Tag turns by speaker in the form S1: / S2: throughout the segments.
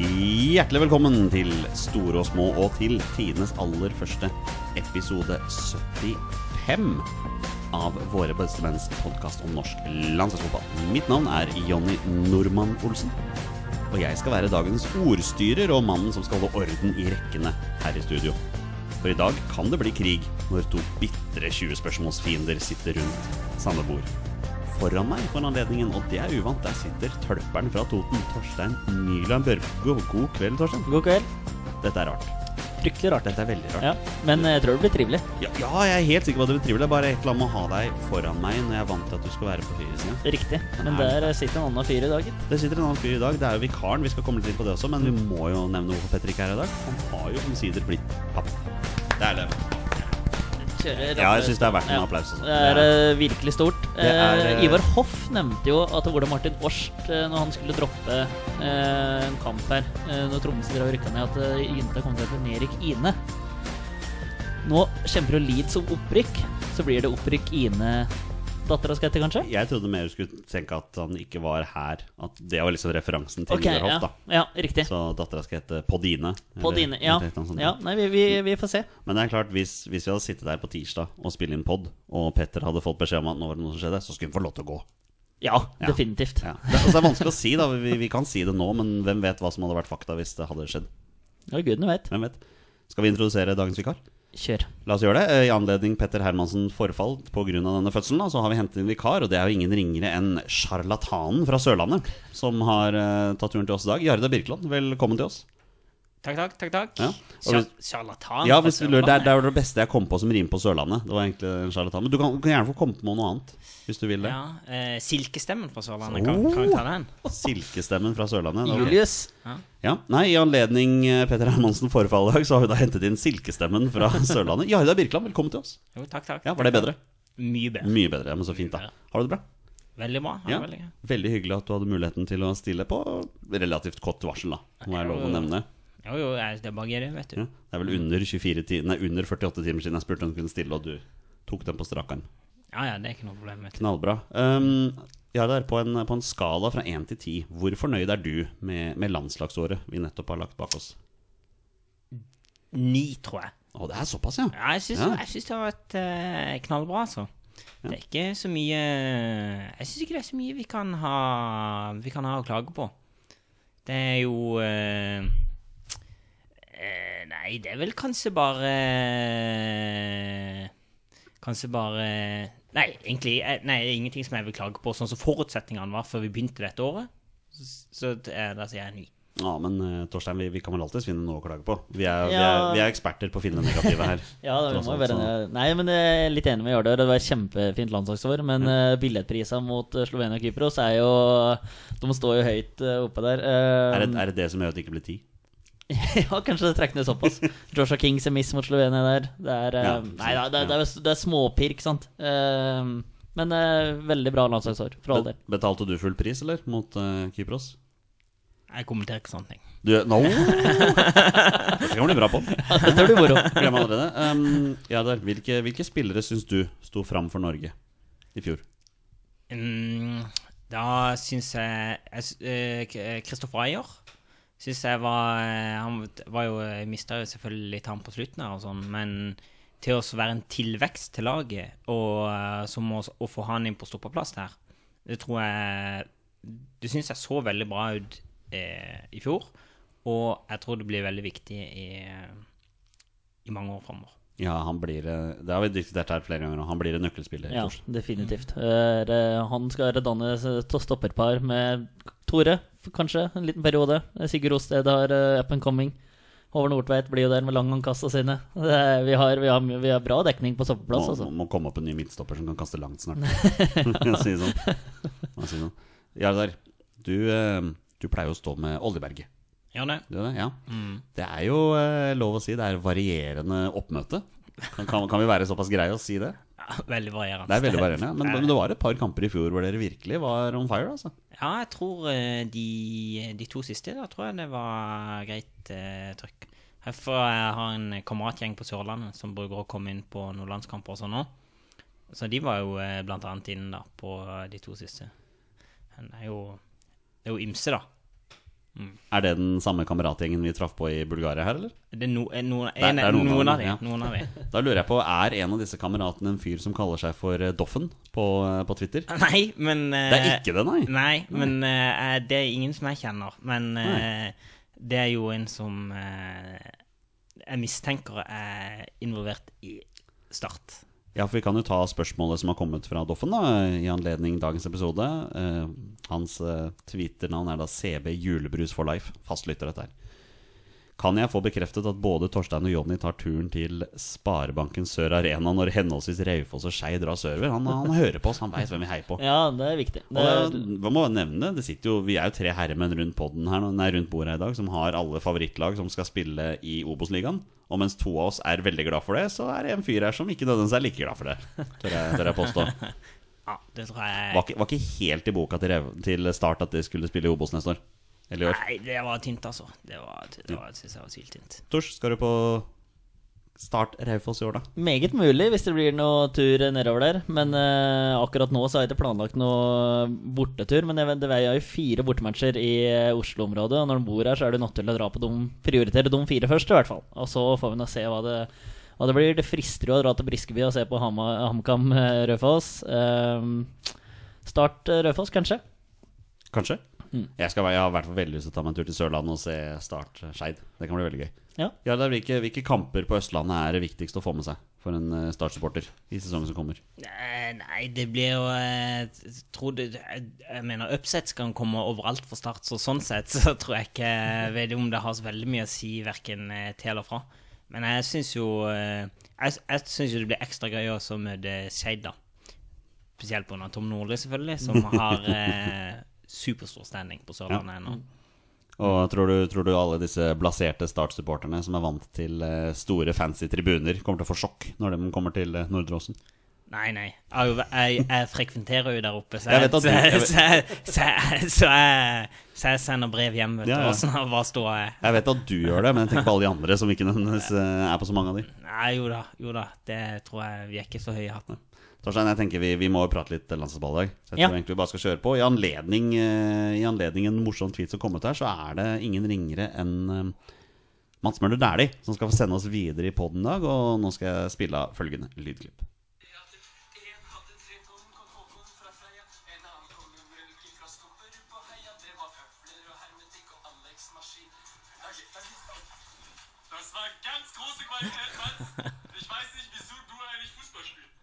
S1: Hjertelig velkommen til Store og små og til tidenes aller første episode 75 av Våre bestemenns podkast om norsk landslagsfotball. Mitt navn er Jonny Normann Olsen, og jeg skal være dagens ordstyrer og mannen som skal holde orden i rekkene her i studio. For i dag kan det bli krig når to bitre 20-spørsmålsfiender sitter rundt samme bord foran meg for anledningen, og det er uvant. Der sitter tølperen fra Toten, Torstein Nyland Børgo. God kveld, Torstein.
S2: God kveld.
S1: Dette er rart.
S2: Fryktelig rart.
S1: Dette er veldig rart.
S2: Ja, men jeg tror det blir trivelig.
S1: Ja, ja, jeg er helt sikker på at det blir trivelig. Det er bare et eller annet med å ha deg foran meg når jeg er vant til at du skal være på høyresida.
S2: Riktig. Men
S1: Nei.
S2: der eh, sitter en annen fyr i dag, gitt.
S1: Det sitter en annen fyr i dag. Det er jo vikaren. Vi skal komme litt inn på det også, men vi må jo nevne hvorfor Petter ikke er her i dag. Han har jo omsider blitt pappa. Det er det.
S2: Kjører
S1: Ja, jeg synes det er verdt en applaus, altså.
S2: Det er eh, virkelig stort.
S1: Det er,
S2: Eh,
S1: eh,
S2: Ivar Hoff nevnte jo at Ole Martin Årst, eh, når han skulle droppe eh, en kamp her, eh, når Tromsø drev og rykka ned, at eh, Jynta kom til å hete Erik Ine. Nå kjemper jo Leeds om opprykk. Så blir det opprykk Ine-dattera skal hete, kanskje?
S1: Jeg trodde mer du skulle tenke at han ikke var her. At det var liksom referansen til
S2: Ok,
S1: Ivar Hoff,
S2: ja,
S1: da.
S2: ja, riktig.
S1: Så dattera skal hete Podine.
S2: På
S1: eller-
S2: dine Ja,
S1: eller et eller annet sånt.
S2: ja nei, vi, vi, vi får se.
S1: Men det er klart, hvis, hvis vi hadde sittet der på tirsdag og spillet inn pod, og Petter hadde fått beskjed om at nå var det noe som skjedde, så skulle hun få lov til å gå.
S2: Ja,
S1: Ja.
S2: definitivt.
S1: Ja. Det, altså, det er vanskelig å si, da. Vi, vi kan si det nå, men hvem vet hva som hadde vært fakta hvis det hadde skjedd?
S2: Ja, gudene vet.
S1: Hvem vet? Skal vi introdusere dagens vikar?
S2: Kjør.
S1: La oss gjøre det. Eh, I anledning Petter Hermansen forfall pga. denne fødselen, da, så har vi hentet inn vikar, og det er jo ingen ringere enn sjarlatanen fra Sørlandet som har eh, tatt turen til oss i dag. Jarda Birkeland, velkommen til oss.
S3: Takk, takk, takk, takk.
S1: Ja. Og
S3: Sjar-
S1: hvis-
S3: Sjarlatan.
S1: Ja, hvis du lurer, det, er, det er det beste jeg kom på som rim på Sørlandet. Det var egentlig en charlatan. Men du kan, du kan gjerne få komme på noe annet, hvis du vil det.
S3: Ja, eh, Silkestemmen fra
S1: Oh.
S3: Sørlandet, kan, kan jeg ta den?
S1: Silkestemmen fra Sørlandet. det var-
S2: Julius.
S1: Ja, nei, I anledning eh, Petter Hermansen forfall i dag, så har vi da hentet inn Silkestemmen fra Sørlandet. Jarda Birkeland, velkommen til oss.
S3: Jo, takk, takk.
S1: Ja, Var det bedre?
S3: Mye bedre.
S1: Mye bedre. ja, Men så fint, da. Har du det bra?
S3: Veldig bra. Ja,
S1: Ja.
S3: veldig bra.
S1: Veldig hyggelig at du hadde muligheten til å stille på relativt kort varsel, da. Må jeg lov å nevne.
S3: Jo, jo, jeg- det er bare gøy, det, vet du.
S1: Ja, det er vel under, 24 ti nei, under 48 timer siden jeg spurte om du kunne stille, og du tok den på strak arm.
S3: Ja, ja, det er ikke noe problem, vet du.
S1: Knallbra. Um, ja, der, på, en, på en skala fra 1 til 10, hvor fornøyd er du med, med landslagsåret vi nettopp har lagt bak oss?
S3: Ni, tror jeg.
S1: Å, det er såpass, ja.
S3: Ja, jeg syns,
S1: Ja.
S3: jeg syns det har vært eh, knallbra, altså. Det er ikke så mye Jeg syns ikke det er så mye vi kan ha Vi kan ha å klage på. Det er jo eh, eh, Nei, det er vel kanskje bare Kanskje bare Nei, egentlig eh, nei, det er ingenting som jeg vil klage på, sånn som forutsetningene var før vi begynte dette året. Så- Så det er- der sier jeg ni.
S1: Ja, men eh, Torstein, vi, vi kan vel alltids finne noe å klage på. Vi er, vi er,
S2: Ja.
S1: vi er eksperter på å finne det negative her.
S2: Ja, det
S1: Tross
S2: må jo
S1: alt,
S2: være eh,
S1: så-
S2: Nei, men jeg er litt enig med Jardar. Det var et kjempefint landslagsår. Men mm. billettprisa mot eh, Slovenia og Kypros er jo De står jo høyt eh, oppe der. Eh,
S1: Er det, er det det som gjør at det ikke blir 10?
S2: ja, kanskje det trekker ned såpass. Joshua Kings er miss mot Slovenia der. Det er, eh,
S1: Ja,
S2: nei, da, det,
S1: ja.
S2: det, er, det er småpirk, sant. Eh, men eh, veldig bra landslagsår, for all del.
S1: Be- Betalte du full pris, eller? Mot eh, Kypros?
S3: Jeg kommenterer ikke sånne ting.
S1: Du, no! Dette kan bli bra på.
S2: Ja, Dette blir moro.
S1: Glem allerede. Um, ja, der. Hvilke, hvilke spillere syns du sto fram for Norge i fjor?
S3: Mm, da syns jeg jeg sy- eh, K- eh, Christopher Ayer syns jeg var eh, Han var jo mista jo selvfølgelig litt han på slutten her og sånn, men til å være en tilvekst til laget, og eh, som å, å få han inn på stoppeplass der, det tror jeg Det syns jeg så veldig bra ut eh, i fjor, og jeg tror det blir veldig viktig i, eh, i mange år framover.
S1: Ja, han blir eh, Det har vi diskutert her flere ganger nå. Han blir en nøkkelspiller.
S2: Ja,
S1: Torstein.
S2: definitivt. Er, eh, han skal danne s- to- stopperpar med Tore, f- kanskje, en liten periode. Sigurd Osted har eh, up and coming. Håvard Nordtveit blir jo der med langhåndkasta sine. Det er, vi, har, vi, har, mye- vi har bra dekning på stoppeplass,
S1: må,
S2: altså.
S1: må komme opp en ny midtstopper som kan kaste langt snart. si det sånn. Ja, si det sånn. Jardar, du, eh, du pleier jo å stå med Oljeberget.
S3: Gjør det?
S1: Det er, det, ja.
S2: Mm.
S1: det er jo eh, lov å si det er varierende oppmøte. Kan, kan, kan vi være såpass greie å si det?
S3: Ja, veldig varierende.
S1: Det er veldig varierende. Men, men det var et par kamper i fjor hvor dere virkelig var on fire. altså.
S3: Ja, jeg tror eh, de, de to siste, da tror jeg det var greit eh, trykk. Herfor jeg har en kameratgjeng på Sørlandet som bruker å komme inn på noen landskamper og sånn nå. Så de var jo eh, blant annet eh, inne da, på de to siste. Men det er jo, det er jo ymse, da.
S1: Er det den samme kameratgjengen vi traff på i Bulgaria her, eller?
S3: Det er, no, er, noen,
S1: er
S3: en,
S1: noen
S3: noen,
S1: av
S3: av de.
S1: dem, ja.
S3: Noen av de.
S1: Da lurer jeg på, er en av disse kameratene en fyr som kaller seg for eh, Doffen på, eh, på Twitter?
S3: Nei, men eh,
S1: Det er ikke det, nei.
S3: Nei, men eh, det er ingen som jeg kjenner. Men eh, det er jo en som eh, jeg mistenker er involvert i Start.
S1: Ja, for vi kan jo ta spørsmålet som har kommet fra Doffen da, i anledning dagens episode. Eh, hans eh, Twitter-navn er da CB Julebrus for life. Fastlytter dette her. Kan jeg få bekreftet at både Torstein og Jonny tar turen til Sparebanken Sør Arena når henholdsvis Raufoss og Skei drar sørover? Han, han hører på oss, han veit hvem vi heier på.
S2: Ja, det er viktig. Det
S1: Og
S2: er,
S1: det, man Eh, må nevne, det sitter jo, vi er jo tre herremenn rundt, podden her, nå- nei, rundt bordet her i dag som har alle favorittlag som skal spille i Obos-ligaen. Og mens to av oss er veldig glad for det, så er det en fyr her som ikke nødvendigvis er like glad for det. Tør jeg, tør jeg påstå.
S3: Ja, det tror jeg
S1: Var ikke, var ikke helt i boka til, Rev, til Start at de skulle spille i Obos neste år. Eller i år.
S3: Nei, det var tynt, altså. Det var, det var, synes jeg var syltynt.
S1: Tors, skal du på Start Raufoss i år, da?
S2: meget mulig hvis det blir noe tur nedover der. Men eh, akkurat nå så har jeg ikke planlagt noe bortetur. Men jeg, vet- det er- jeg har jo fire bortematcher i eh, Oslo-området, og når de bor her, så er det naturlig å dra på de, prioritere de fire først, i hvert fall. Og så får vi nå se hva det, hva det blir. Det frister jo å dra til Briskeby og se på Hama- HamKam eh, Raufoss. Ehm, start eh, Raufoss, kanskje.
S1: Kanskje? Jeg, skal, være- jeg har i hvert fall veldig lyst til å ta meg en tur til Sørlandet og se Start Skeid. Det kan bli veldig gøy.
S2: Ja.
S1: Ja, det er hvilke, hvilke kamper på Østlandet er det viktigst å få med seg for en eh, Start-supporter i sesongen som kommer?
S3: Nei, nei, det blir jo eh, Jeg tror det, jeg, jeg mener upsets kan komme overalt fra start, så sånn sett så tror jeg ikke jeg vet om det har så veldig mye å si verken eh, til eller fra. Men jeg syns jo eh, Jeg, jeg synes jo det blir ekstra gøy også å møte Skeid, da. Spesielt pga. Tom Nordli, selvfølgelig, som har eh, superstor standing på Sørlandet ennå.
S1: Og tror du, tror du alle disse blaserte Start-supporterne som er vant til eh, store, fancy tribuner, kommer til å få sjokk når de kommer til eh, Nordre Åsen?
S3: Nei, nei. Jeg, har jo væ- jeg, jeg frekventerer jo der oppe, så
S1: Jeg
S3: jeg,
S1: vet at
S3: så,
S1: du- jeg
S3: jeg,
S1: vet-
S3: så, jeg, så, jeg, så, jeg, så jeg sender brev hjem, vet du.
S1: Ja, ja.
S3: Og så bare står jeg
S1: Jeg vet at du gjør det, men jeg tenker på alle de andre som ikke nødvendigvis eh, er på så mange av de.
S3: Nei, jo da. Jo da. Det tror jeg Vi er ikke så høye i hatten.
S1: Torstein, jeg tenker vi, vi må jo prate litt landslagsball i dag. Så jeg
S2: Ja.
S1: tror egentlig vi bare skal kjøre på. I anledning, eh, i anledning en morsom tweet som kom ut her, så er det ingen ringere enn eh, Mats Møller Dæhlie som skal få sende oss videre i poden i dag. Og nå skal jeg spille av følgende lydklipp.
S4: En hadde tre tonn kokon fra Freia. En annen konge brøk fra Skopper på heia. Det var pøbler og hermetikk og anleggsmaskin. Danke, danke. Das war ganz große Qualität, Mats. Ich weiß nicht, wieso du eigentlich Fußball spielst.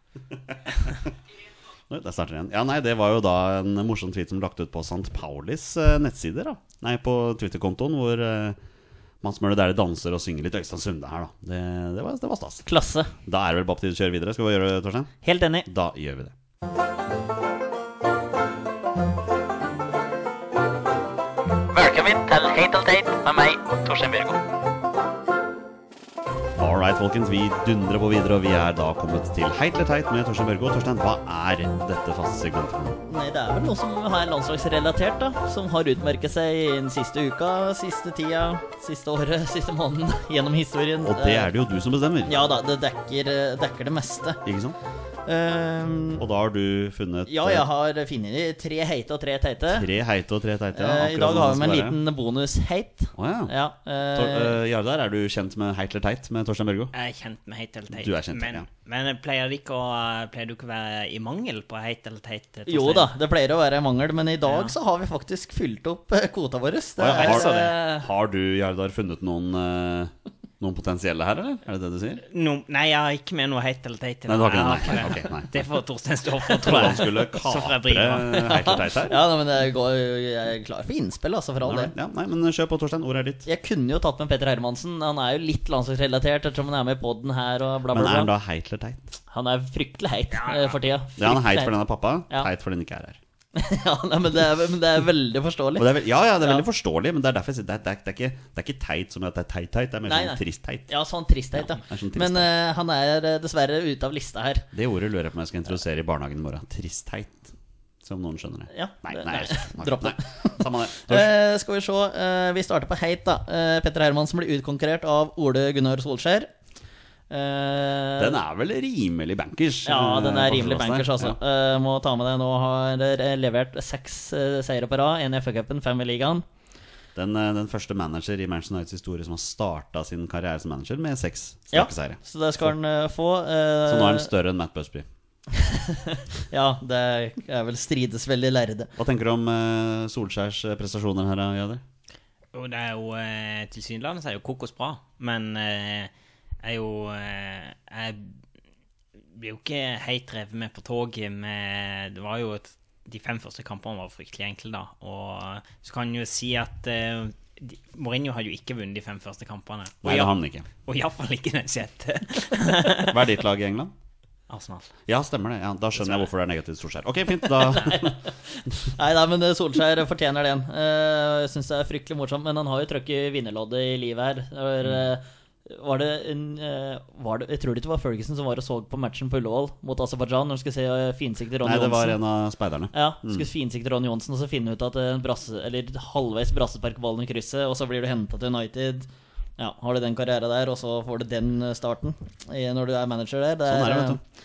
S1: Oi, Der starter den igjen. Ja, nei, Det var jo da en morsom tweet som ble lagt ut på St. Paulis eh, nettsider. da Nei, på Twitter-kontoen, hvor eh, Mats Møller Dæhlie danser og synger litt Øystein Sunde her, da. Det, det, var, det var stas.
S2: Klasse.
S1: Da er det vel bare på tide å kjøre videre. Skal vi gjøre det, Torstein?
S2: Helt enig.
S1: Da gjør vi det.
S5: Velkommen til Heit og Teit med meg, Torstein Bjørgo.
S1: All right, folkens. Vi dundrer på videre, og vi er da kommet til Heit eller teit med Torstein Børgo. Torstein, hva er dette faste segmentet for noe?
S2: Nei, det er vel noe som er landslagsrelatert, da. Som har utmerket seg i den siste uka, siste tida, siste året, siste måneden. Gjennom historien.
S1: Og det er det jo du som bestemmer,
S2: Eh, Ja da, det dekker, eh, dekker det meste.
S1: ikke sant?
S2: Eh,
S1: Og da har du funnet
S2: ja,
S1: eh,
S2: jeg har funnet tre heite og tre teite.
S1: tre sånn heite og tre teite.
S2: Eh, I dag har vi med en liten bonusheit.
S1: Å ja.
S2: Ja, eh,
S1: Tor- eh, Jardar, er du kjent med Heit eller teit med Torstein Børgo?
S3: Jeg er kjent med heit eller teit.
S1: Du er kjent,
S3: men,
S1: ja.
S3: men pleier, det ikke å, eh, pleier du ikke å være i mangel på heit eller teit? eh, Torstein?
S2: jo da, det pleier å være en mangel, men i dag
S3: Ja.
S2: så har vi faktisk fylt opp eh, kvota vår. Det
S1: Å ja,
S2: er,
S1: har,
S2: eh,
S1: har du, Jardar, funnet noen, eh, noen potensielle her, eller? Er det det du sier?
S3: No, nei, jeg har ikke med noe heit eller teit. i
S1: Nei, du har
S3: dag.
S1: ikke det,
S3: Jeg har
S1: nei.
S3: ikke det.
S1: Ok, nei.
S3: Det får Torstein stå for,
S1: Tror
S3: tror
S1: du
S3: jeg.
S1: han skulle
S3: Så får
S1: kapre
S3: jeg bringe han.
S1: Heit eller teit her?
S2: ja, nei, men det går, jeg er klar for innspill, altså, for all del.
S1: Ja, nei, men kjør på, Torstein. Ordet er ditt.
S2: Jeg kunne jo tatt med Petter Hermansen. Han er jo litt landslagsrelatert ettersom han er med i poden her og bla,
S1: Men er
S2: bla,
S1: han
S2: bla.
S1: da heit eller teit?
S2: Han er fryktelig heit eh, for tida.
S1: Ja, han er heit fordi
S2: Fryktelig
S1: han er pappa,
S2: Ja.
S1: teit fordi han ikke er her.
S2: heit. ja, nei, men, det er, men det er veldig
S1: Og
S2: forståelig.
S1: det er, vel- ja, ja, det er
S2: Ja.
S1: veldig forståelig, men det er derfor jeg sier det er, det er, det er, ikke, det er ikke teit som i at det er teit-teit. Det er mer
S2: Nei,
S1: sånn
S2: nei.
S1: trist-teit.
S2: Ja, sånn tristhet, ja.
S1: Ja, det er sånn trist,
S2: men eh, han er eh, dessverre ute av lista her.
S1: Det ordet lurer jeg på om jeg skal introdusere i barnehagen i morgen. Trist-teit. Som noen skjønner det.
S2: Ja,
S1: nei,
S2: det-
S1: nei,
S2: nei.
S1: nei.
S2: Dropp det.
S1: Nei, Samme det. Tors.
S2: Eh, skal vi se. eh, vi starter på heit, da. Eh, Petter Hermansen blir utkonkurrert av Ole Gunnar Solskjær. Eh,
S1: Den er vel rimelig bankers?
S2: Ja, den er
S1: eh,
S2: rimelig
S1: Barcelona.
S2: bankers, altså.
S1: Ja.
S2: Eh, må eh, ta med det. Nå har dere levert seks uh, seire på rad. Én i FA-cupen, fem i ligaen.
S1: Den, eh, den første manager i Manchester Unites historie som har starta sin karriere som manager med seks
S2: Ja,
S1: strakkeseiere.
S2: så det skal han eh, få. eh,
S1: Så nå er han større enn Matt Busby.
S2: Ja, det er vel strides veldig lærde.
S1: Hva tenker du om eh, Solskjærs eh, prestasjoner her, eh, Jøder?
S3: Og det er jo eh, Tilsynelatende så er jo kokos bra, men eh, jeg er jo eh, Jeg blir jo ikke helt revet med på toget med Det var jo et, De fem første kampene var fryktelig enkle, da. Og så kan en jo si at eh, de- Mourinho har jo ikke vunnet de fem første kampene. Og
S1: Nei, det
S3: ja-
S1: har han ikke.
S3: Og iallfall ikke den sjette.
S1: Hva er ditt lag i England?
S3: Arsenal.
S1: Ja, stemmer det. Ja, da skjønner jeg hvorfor det er negativt Solskjær. Ok, fint. Da
S2: Nei, nei, men eh, Solskjær fortjener den. Eh, Jeg syns det er fryktelig morsomt, men han har jo trøkket vinnerloddet i livet her. Det var,
S1: Mm.
S2: eh, var det en eh, var det, Jeg tror det ikke var Ferguson som var og så på matchen på Ullevål mot Aserbajdsjan. Når de skulle se eh, finsikte Ronny
S1: Nei, det var
S2: Johnsen.
S1: en av speiderne.
S2: Ja, skulle finsikte Ronny Johnsen og så finne ut at eh, en brasse, eller halvveis brassespark ballen i krysset, og så blir du henta til United. Ja, har du den karrieren der, og så får du den eh, starten eh, når du er manager der. Det
S1: Sånn er det, vet du.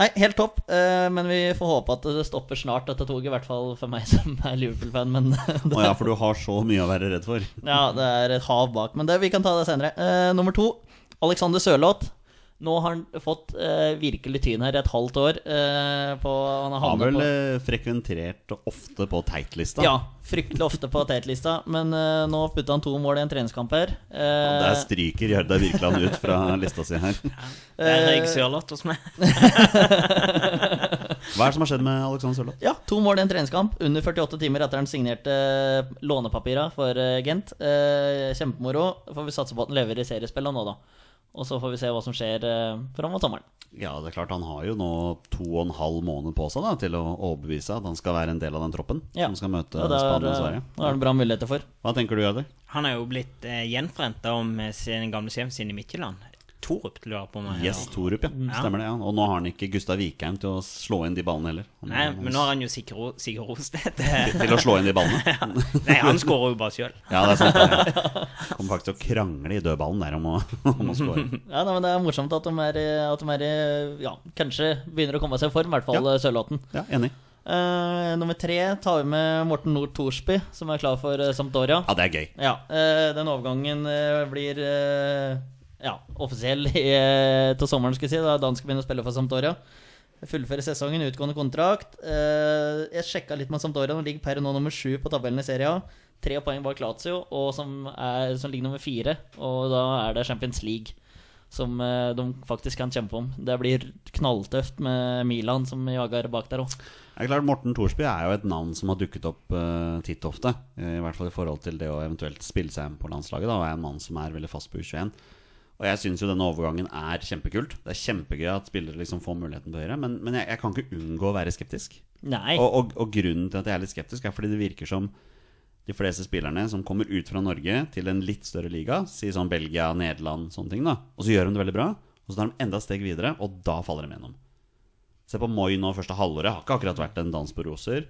S2: Nei, helt topp, eh, men vi får håpe at det stopper snart, dette toget. I hvert fall for meg som er Liverpool-fan, men det,
S1: Å ja, for du har så mye å være redd for.
S2: ja, det er et hav bak. Men det, vi kan ta det senere. Eh, nummer to, Alexander Sørloth. Nå har han fått eh, virkelig tyn her i et halvt år. Eh, på, han har
S1: Har
S2: havnet
S1: vel
S2: på-
S1: eh, frekventert ofte på teitlista.
S2: Ja, fryktelig ofte på tettlista, men eh, nå putta han to mål i en treningskamp her. Eh,
S1: Der stryker Gjerde Virkeland ut fra lista si her.
S3: Der
S1: Eh,
S3: er jeg sørlott hos meg.
S1: Hva er det som har skjedd med Alexander Sørloth?
S2: ja, to mål i en treningskamp under 48 timer etter han signerte eh, lånepapira for eh, Gent. Eh, kjempemoro. Får vi satse på at han lever i seriespillene nå, da. Og så får vi se hva som skjer eh, fram mot sommeren.
S1: Ja, det er klart Han har jo nå to og en halv måned på seg da, til å overbevise at han skal være en del av den troppen
S2: Ja.
S1: som skal møte
S2: Ja, det er,
S1: Spania og
S2: eh, det
S1: Sverige.
S2: er det bra muligheter for.
S1: Hva tenker du, Gjerde?
S3: Han er jo blitt eh, gjenforent da med sin gamle sjefen sin i Midtjylland. Torup lurer på meg.
S1: Yes, Torup, ja.
S3: Mm.
S1: Stemmer det. ja Og nå har han ikke Gustav Vikheim til å slå inn de ballene heller. Han-
S3: Nei, men nå har han jo Sigro- Sigurd Rostedt.
S1: Til å slå inn de ballene.
S3: Nei, han skårer jo bare sjøl.
S1: Ja, det er sant. det, Ja. Kommer faktisk til å krangle i dødballen der om å, om å score.
S2: Ja, nei, men Det er morsomt at de er, i- at de er i- ja, kanskje begynner å komme seg i form, i hvert fall
S1: Ja.
S2: ja. Sørlotten.
S1: Ja, enig.
S2: Eh, nummer tre tar vi med Morten Nord Thorsby, som er klar for eh, Sampdoria.
S1: Ja, det er gøy.
S2: Ja, eh, den overgangen eh, blir eh, ja, offisiell i, eh, til sommeren, skal jeg si. Da dansk begynner å spille for Sampdoria. Fullfører sesongen, utgående kontrakt. Eh, jeg sjekka litt med Sampdoria. De ligger per nå nummer sju på tabellen i serien. Tre poeng bak Lazio, og som, er, som ligger nummer fire. Og da er det Champions League som eh, de faktisk kan kjempe om. Det blir knalltøft med Milan som jager bak der òg.
S1: Det er klart, Morten Thorsby er jo et navn som har dukket opp eh, titt og ofte. eh, I hvert fall i forhold til det å eventuelt spille seg inn på landslaget. Da, og er en mann som er veldig fast på U21. Og jeg syns jo denne overgangen er kjempekult. Det er kjempegøy at spillere liksom får muligheten til å gjøre men, men jeg, jeg kan ikke unngå å være skeptisk.
S2: Nei.
S1: Og, og, og grunnen til at jeg er litt skeptisk, er fordi det virker som de fleste spillerne som kommer ut fra Norge til en litt større liga, si sånn Belgia, Nederland, sånne ting, da, og så gjør de det veldig bra, og så tar de enda et steg videre, og da faller de gjennom. Se på Moi nå første halvåret, har ikke akkurat vært en dans på roser.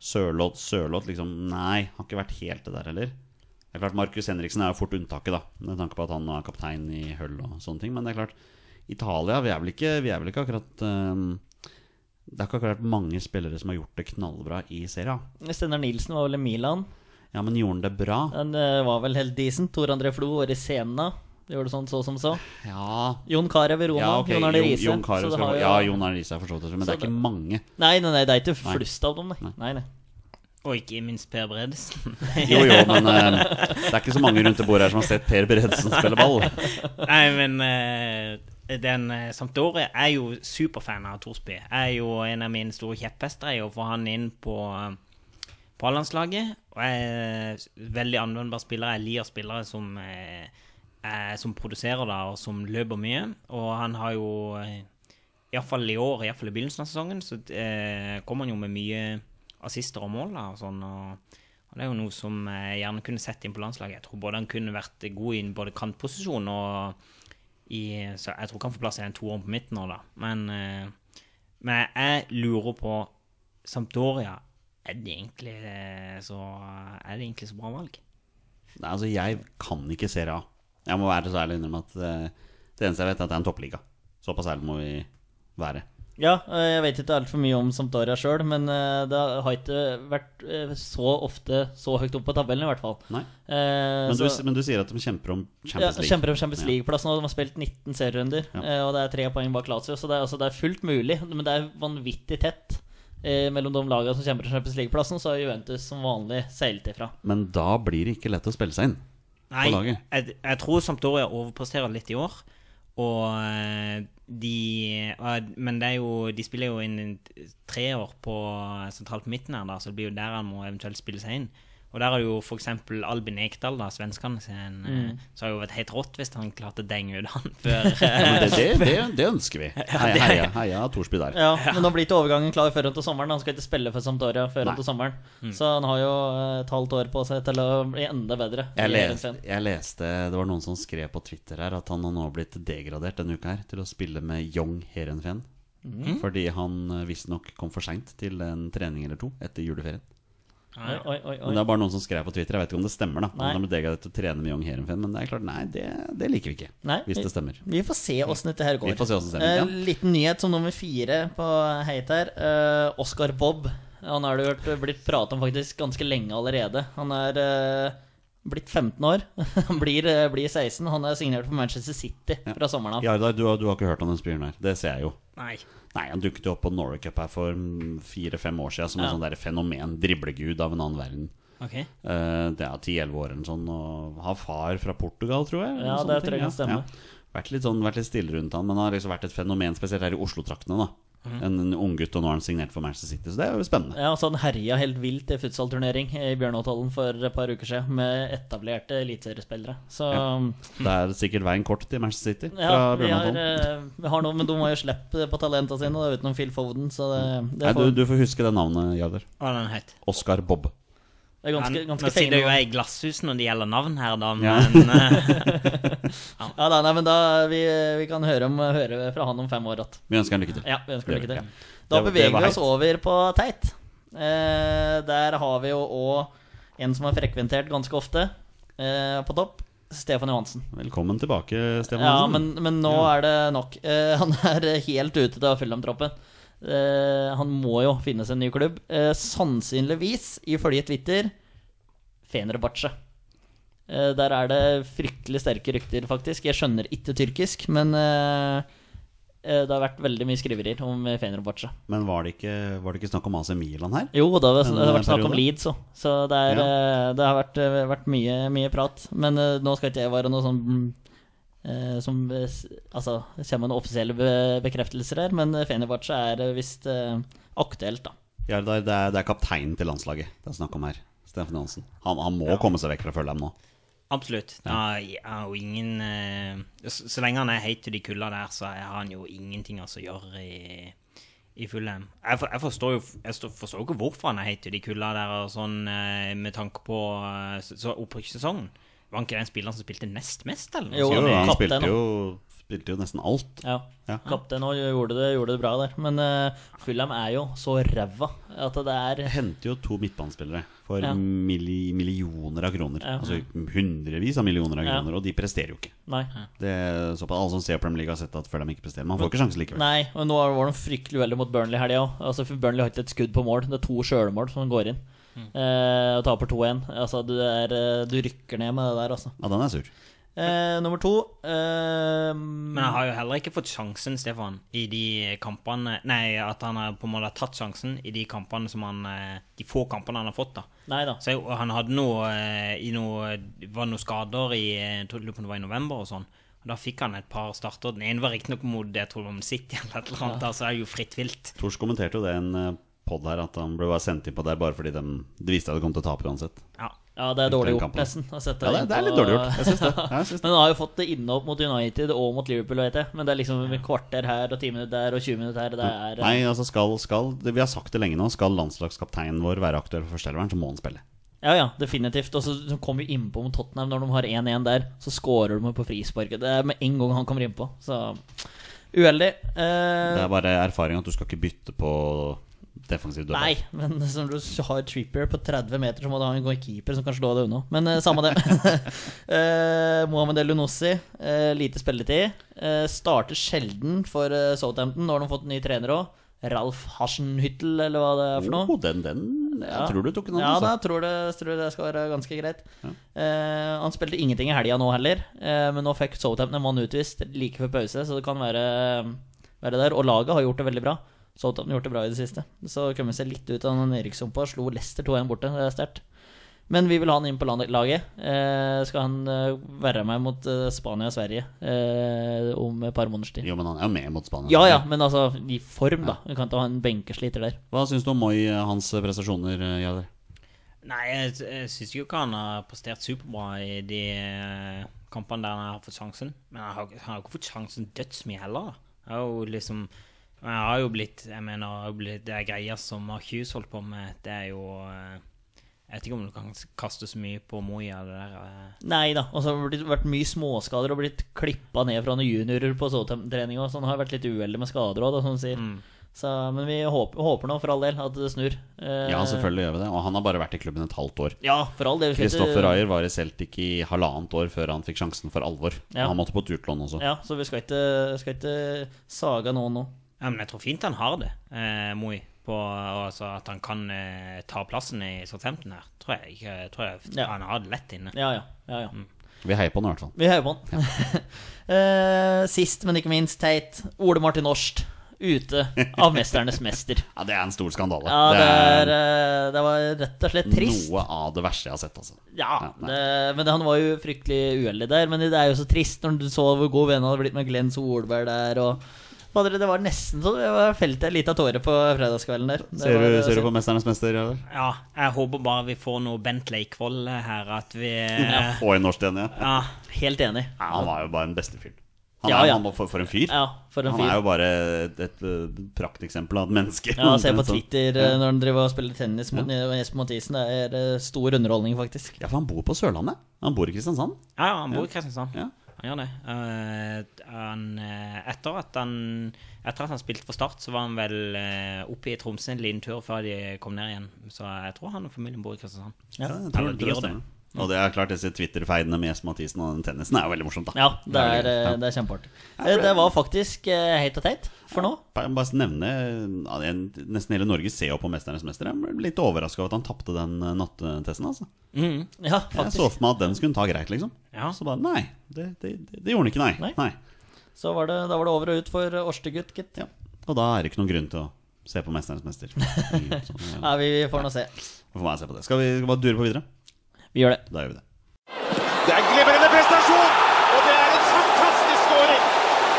S1: Sørloth, Sørloth, liksom Nei, har ikke vært helt det der heller. Det er klart, Markus Henriksen er jo fort unntaket, da, med tanke på at han er kaptein i Hull og sånne ting, men det er klart, Italia, vi er vel ikke, vi er vel ikke akkurat eh, det er ikke akkurat mange spillere som har gjort det knallbra i serien.
S2: Steinar Nilsen var vel i Milan.
S1: Ja, men gjorde han det bra?
S2: Den eh, var vel helt decent. Tor André Flo var i Sena. Gjorde sånn så som så.
S1: Ja,
S2: Jon Carew i Roma.
S1: ja ok.
S2: Jon Arne Riise.
S1: Jon Carew
S2: så det
S1: skal
S2: har
S1: få-
S2: jo-
S1: Ja, Jon Arne Riise er forstått det, men det
S2: Så
S1: er ikke
S2: det-
S1: mange.
S2: Nei, nei, nei, det er ikke
S1: Nei.
S2: flust av dem, nei. nei, nei.
S3: Og ikke minst Per Bredesen.
S1: Jo, jo, men eh, det er ikke så mange rundt det bordet her som har sett Per Bredesen spille ball.
S3: Nei, men eh, den eh, Sampdoria er jo superfan av Thorsby. Er jo en av mine store kjepphester. Er jo å få han inn på, eh, på A-landslaget. Og jeg er veldig anvendbar spiller. Jeg liker spillere som, eh, er, som produserer da, og som løper mye. Og han har jo eh, Iallfall i år, iallfall i begynnelsen av sesongen, så eh, kom han jo med mye assister og mål. Da, og sånn, og, og det er jo noe som jeg gjerne kunne sett inn på landslaget. Jeg tror både han kunne vært god i både kantposisjon og i, så Jeg tror ikke han får plass i den toeren på midten nå, da. Men, eh, men jeg lurer på Sampdoria. Er det egentlig eh, så, er det egentlig så bra valg?
S1: Nei, altså, jeg kan ikke Serie A. Jeg må være så ærlig og innrømme at eh, det eneste jeg vet, er at det er en toppliga. Såpass ærlig må vi være.
S2: Ja, eh, jeg vet ikke altfor mye om Sampdoria sjøl, men eh, det har ikke vært eh, så ofte så høyt opp på tabellen, i hvert fall.
S1: Nei.
S2: Eh,
S1: Men, du,
S2: så-
S1: men du sier at de kjemper om
S2: ja,
S1: Champions League.
S2: kjemper om Champions League-plassen. og De har spilt 19 serierunder,
S1: Ja.
S2: eh, og det er tre poeng bak Lazio. Så det er, altså, det er fullt mulig, men det er vanvittig tett eh, mellom de lagene som kjemper om Champions League-plassen. Så har Juventus som vanlig seilt ifra.
S1: Men da blir det ikke lett å spille seg inn.
S3: Nei,
S1: på laget?
S3: jeg, jeg tror Sampdoria overpresterer litt i år. Og eh, de og, Men det er jo, de spiller jo inn en treår på eh, sentralt på midten her, da, så det blir jo der han må eventuelt spille seg inn. Og der har jo f.eks. Albin Ekdal, da, svenskene sin, eh, så har jo vært helt rått hvis han klarte å denge ut han før eh,
S1: Ja, Men det, det, det, det ønsker vi. Heia, heia, heia Torsby der.
S2: Ja, Men nå blir ikke overgangen klar før til sommeren. Han skal ikke spille for Sampdoria før
S1: Nei. Mm.
S2: til sommeren. Så han har jo eh, et halvt år på seg til å bli enda bedre. i
S1: Jeg leste,
S2: Eliteserien.
S1: jeg leste Det var noen som skrev på Twitter her at han har nå blitt degradert denne uka her til å spille med Young Heerenveen.
S2: Mm.
S1: Fordi han eh, visstnok kom for seint til en trening eller to etter juleferien.
S2: Oi, oi, oi,
S1: Men
S2: oi.
S1: det er bare noen som skrev på Twitter. Jeg vet ikke om det stemmer. da
S2: Nei.
S1: Han har blitt degradert til å trene med Young Heerenveen. Men det er klart, nei, det, det liker vi ikke.
S2: Nei.
S1: Hvis det stemmer.
S2: Vi får se åssen dette her går.
S1: Vi får se hvordan det stemmer, ja.
S2: Eh, Liten nyhet som nummer fire på heit her. Eh, Oscar Bob. Han har det jo vært- blitt pratet om faktisk ganske lenge allerede. Han er eh, blitt 15 år. Han blir, eh, blir 16. Han er signert for Manchester City fra sommeren av.
S1: Jardar, du, har- du har ikke hørt om den spilleren her. Det ser jeg jo.
S3: Nei.
S1: Nei, Han dukket jo opp på Norway Cup her for mm, fire-fem år siden som en
S2: Ja.
S1: sånn der fenomen. Driblegud av en annen verden.
S3: OK.
S1: Eh, det er ti-elleve år eller sånn, og har far fra Portugal, tror jeg. eller
S2: Ja,
S1: noe
S2: det
S1: sånne
S2: tror
S1: ting,
S2: jeg kan stemme.
S1: Vært, litt sånn, vært litt stille rundt han, men han har liksom vært et fenomen, spesielt her i Oslo-traktene. da
S2: Mhm.
S1: En, en unggutt, og nå har han signert for Manchester City, så det er jo spennende.
S2: Ja, altså Han herja helt vilt i futsalturnering i Bjørnåthallen for et par uker siden med etablerte eliteseriespillere. Så
S1: Det er sikkert veien kort til Manchester City
S2: ja,
S1: fra
S2: vi, har,
S1: Bjørnvatn.
S2: eh, vi har noe, men de må jo slippe på talentene sine da, utenom Phil Foden. Så det, det,
S1: Nei,
S2: får,
S1: du, du får huske det navnet, Jardar.
S3: Hva er den het?
S1: Oscar Bob.
S2: det er ganske,
S3: Han- Nå
S2: ganske
S3: sitter
S2: fengende.
S3: jo jeg i glasshus når det gjelder navn her, da, men
S1: Ja.
S3: eh,
S2: Ja, nei, nei, men da vi, vi kan høre, om, høre fra han om fem år igjen.
S1: Vi ønsker han lykke til.
S2: Ja, vi ønsker lykke
S1: Ja.
S2: til.
S1: Det
S2: Da
S1: var- det
S2: beveger
S1: var
S2: vi oss
S1: heit.
S2: over på Teit. Eh, der har vi jo òg en som er frekventert ganske ofte eh, på topp. Stefan Johansen.
S1: Velkommen tilbake, Stefan
S2: Ja,
S1: Hansen.
S2: men, men nå
S1: Ja.
S2: er det nok. Eh, han er helt ute til å fylle om troppen. Eh, han må jo finne seg en ny klubb. Eh, sannsynligvis, ifølge Twitter, Fenerbahçe. Eh, der er det fryktelig sterke rykter, faktisk. Jeg skjønner ikke tyrkisk, men eh, eh, det har vært veldig mye skriverier om Fenerbahçe.
S1: Men var det, ikke, var det ikke snakk om AC Milan her?
S2: Jo, det har, det har
S1: Men, eh,
S2: vært snakk om
S1: periode?
S2: Leeds òg, så det, er, eh, det har vært, eh, vært mye, mye prat. Men eh, nå skal ikke jeg være noe sånn mm, eh, som eh, s- Altså, det kommer noen offisielle be bekreftelser her, men eh, Fenerbahçe er eh, visst eh, aktuelt, da.
S1: Jardar, det er, det er kapteinen til landslaget det er snakk om her. Stefan Johansen. Han, han må komme seg vekk fra Følheim nå.
S3: absolutt. Da jeg har jo ingen eh, så, så lenge han er heit til de kulda der, så har han jo ingenting altså å gjøre i, i Fulham. Jeg, for, jeg forstår jo jeg stå- forstår jo ikke hvorfor han er heit til de kulda der, og sånn eh, med tanke på eh, så, så opprykkssesongen. Var han ikke den spilleren som spilte nest mest, eller? noe
S2: Jo,
S1: Jo,
S3: sånt?
S2: det er
S1: han
S2: kaptein, da.
S1: spilte jo, spilte jo nesten alt.
S2: Ja.
S1: Ja.
S2: Kaptein òg gjorde, det- gjorde det bra der. Men uh, Fulham er jo så ræva at det er
S1: henter jo to midtbanespillere for
S2: Ja.
S1: milli, millioner av kroner.
S2: Ja.
S1: Altså hundrevis av millioner av
S2: Ja.
S1: kroner, og de presterer jo ikke.
S2: Nei.
S1: Det er såpass, Alle som ser Premier League, har sett at før de ikke presterer. Man får ikke sjansen likevel.
S2: Nei, og nå var de fryktelig uheldige mot Burnley i helga òg. Altså, for Burnley har ikke et skudd på mål. Det er to sjølmål som går inn.
S3: Mm.
S2: Eh, og taper 2-1. Altså, du, er, eh, du rykker ned med det der, altså.
S1: Ja, den er sur.
S2: Eh, nummer to eh,
S3: Men han har jo heller ikke fått sjansen, Stefan, i de kampene Nei, at han har på en måte tatt sjansen i de kampene som han eh, De få kampene han har fått, da.
S2: Nei da.
S3: Så jeg, og han hadde noe, eh, i noe Var noe skader i eh, jeg tror- lurer på om det var i november og sånn. Og Da fikk han et par starter. Den ene var riktignok mot jeg tror det var City eller et eller annet. Da, så er det jo fritt vilt.
S1: Tors kommenterte jo det i en pod her, at han ble bare sendt inn på der bare fordi de, det viste at de kom til å tape uansett.
S3: Ja.
S2: Ja, det er dårlig
S1: Den
S2: gjort,
S1: kampen.
S2: nesten. å sette
S1: Ja, det, det er litt
S2: innpå-
S1: dårlig gjort. Jeg syns det. Jeg syns det.
S2: Men han har jo fått det innhopp mot United og mot Liverpool, vet jeg. Men det er liksom et kvarter her og ti minutter der og 20 minutter her. Det er
S1: Nei, altså skal, skal det, Vi har sagt det lenge nå. Skal landslagskapteinen vår være aktuell for førsteelveren, så må han spille.
S2: Ja, ja, definitivt. Og så så kommer vi innpå mot Tottenham når de har 1-1 der. Så skårer de på frisparket. Det er med en gang han kommer innpå. Så uheldig.
S1: Det
S2: Eh,
S1: er bare erfaring at du skal ikke bytte på defensiv
S2: Nei,
S1: dødball.
S2: men som du har Trippier på 30 meter, så må du ha en god keeper som kan slå deg unna. Men eh, samme det. eh, Mohammed El Unossi, eh, lite spilletid. Eh, starter sjelden for eh, Southampton. Nå har de fått ny trener òg. Ralf Hasenhyttel, eller hva det er for noe.
S1: Oh, den, den Jeg tror du tok en
S2: Ja, da
S1: annen. altså.
S2: tror det, tror det skal være ganske greit. Eh, han spilte ingenting i helga nå heller, eh, men nå fikk Southampton en mann utvist like før pause, så det kan være, være der. Og laget har gjort det veldig bra. Southampton har gjort det bra i det siste. Så kom vi seg litt ut av den nedrykkssumpa. Slo Leicester 2-1 borte, det er sterkt. Men vi vil ha han inn på land- laget. Eh, skal han eh, være med mot eh, Spania og Sverige eh, om et par måneders tid?
S1: Jo, men han er jo med mot Spania.
S2: Ja ja, men altså i form, da. Vi kan ikke ha en benkesliter der.
S1: Hva syns du om Moi, eh, hans prestasjoner, eh, Jader?
S3: Nei, jeg, jeg syns jo ikke han har prestert superbra i de eh, kampene der han har fått sjansen. Men han har, han har jo ikke fått sjansen dødsmye heller. Han har jo liksom Han har jo blitt Jeg mener, han har jo blitt, det er greier som Mark Hughes holdt på med, det er jo eh, Jeg vet ikke om du kan kaste så mye på Moya, det der. eh.
S2: Nei da. Og så har det blitt- vært mye småskader og blitt klippa ned fra noen juniorer på Southampton-trening. og Sånn har vært litt uheldig med skader òg, som du sier.
S1: Mm.
S2: Så, men vi håper, håper nå, for all del, at det snur. Eh,
S1: Ja, selvfølgelig gjør vi det. Og han har bare vært i klubben et halvt år.
S2: Ja, for all del. vi skal ikke-
S1: Kristoffer Ayer var i Celtic i halvannet år før han fikk sjansen for alvor.
S2: Ja.
S1: Han måtte på et utlån også.
S2: Ja, så vi skal ikke, skal ikke saga noen nå.
S3: Ja, men jeg tror fint han har det, eh, Moi. På, altså at han kan eh, ta plassen i Southampton her. Tror jeg, ikke- tror jeg
S2: Ja.
S3: han har det lett inne.
S2: Ja, ja. ja,
S1: Mm.
S2: ja.
S1: Vi heier på han i hvert fall.
S2: Vi heier på han. Eh, sist, men ikke minst, teit. Ole Martin Årst ute av 'Mesternes mester'.
S1: Ja, Det er en stor skandale.
S2: Ja, det, er, eh, det var rett og slett trist.
S1: noe av det verste jeg har sett. altså.
S2: Ja,
S1: nei.
S2: det, men det, han var jo fryktelig uheldig der. Men det er jo så trist når du så hvor god venn han hadde blitt med Glenn Solberg der. og Fader, Det var nesten så jeg felte en liten tåre på fredagskvelden der. Det
S1: Ser
S2: var,
S1: du, ser du på 'Mesternes mester'? Jader?
S3: Ja, jeg håper bare vi får noe Bent Leikvoll her, at vi
S1: Ja,
S3: eh,
S1: Få en norsk igjen, ja.
S3: Ja.
S2: altså Helt enig.
S1: Ja, Han var jo bare den beste fyren. Han
S2: Ja,
S1: er,
S2: ja.
S1: Han, var for, for en fyr.
S2: Ja, for en
S1: han er
S2: fyr.
S1: jo bare et, et, eh, prakteksempel av et menneske.
S2: Ja, Se på
S1: Sånn.
S2: Twitter eh, når han driver og spiller tennis mot Espen Mathisen. Det er eh, stor underholdning, faktisk.
S1: Ja, for han bor på Sørlandet. Han bor i Kristiansand.
S3: ja, han bor i Kristiansand.
S1: Ja.
S3: Han gjør det. Eh, han, eh, etter, at han, etter at han spilte for Start, så var han vel eh, oppe i Tromsø en liten tur før de kom ned igjen. Så jeg tror han og familien bor i Kristiansand.
S1: Ja, jeg tror,
S3: Eller de
S1: tror det
S3: gjør det.
S1: stemmer. Og det er klart disse Twitter-feidene med Espen Mathisen og den tennisen er jo veldig morsomt. da
S2: Ja, det er,
S1: veldig
S2: eh,
S1: gøy. Ja.
S2: det er kjempeartig. Eh, Det var faktisk eh, heit og teit for nå.
S1: Bare bare nevne ja, det er- Nesten hele Norge ser jo på 'Mesternes mester'. Jeg ble litt overraska over at han tapte den eh, nattetesten. altså
S2: Ja,
S1: Jeg så
S2: faktisk.
S1: for meg at den skulle hun ta greit, liksom.
S3: Ja.
S1: Så bare nei. Det, det, det, det gjorde han ikke, nei.
S2: Nei.
S1: nei.
S2: Så var det, da var det over og ut for eh, Årstegutt, gitt.
S1: Ja. Og da er det ikke noen grunn til å se på 'Mesternes mester'. Sånn, ja.
S2: Ja, vi får nå se.
S1: Får meg se på det. Skal vi skal vi bare dure på videre?
S2: Vi gjør det.
S1: Da gjør vi det.
S6: Det er en glimrende prestasjon, og det er en fantastisk skåring.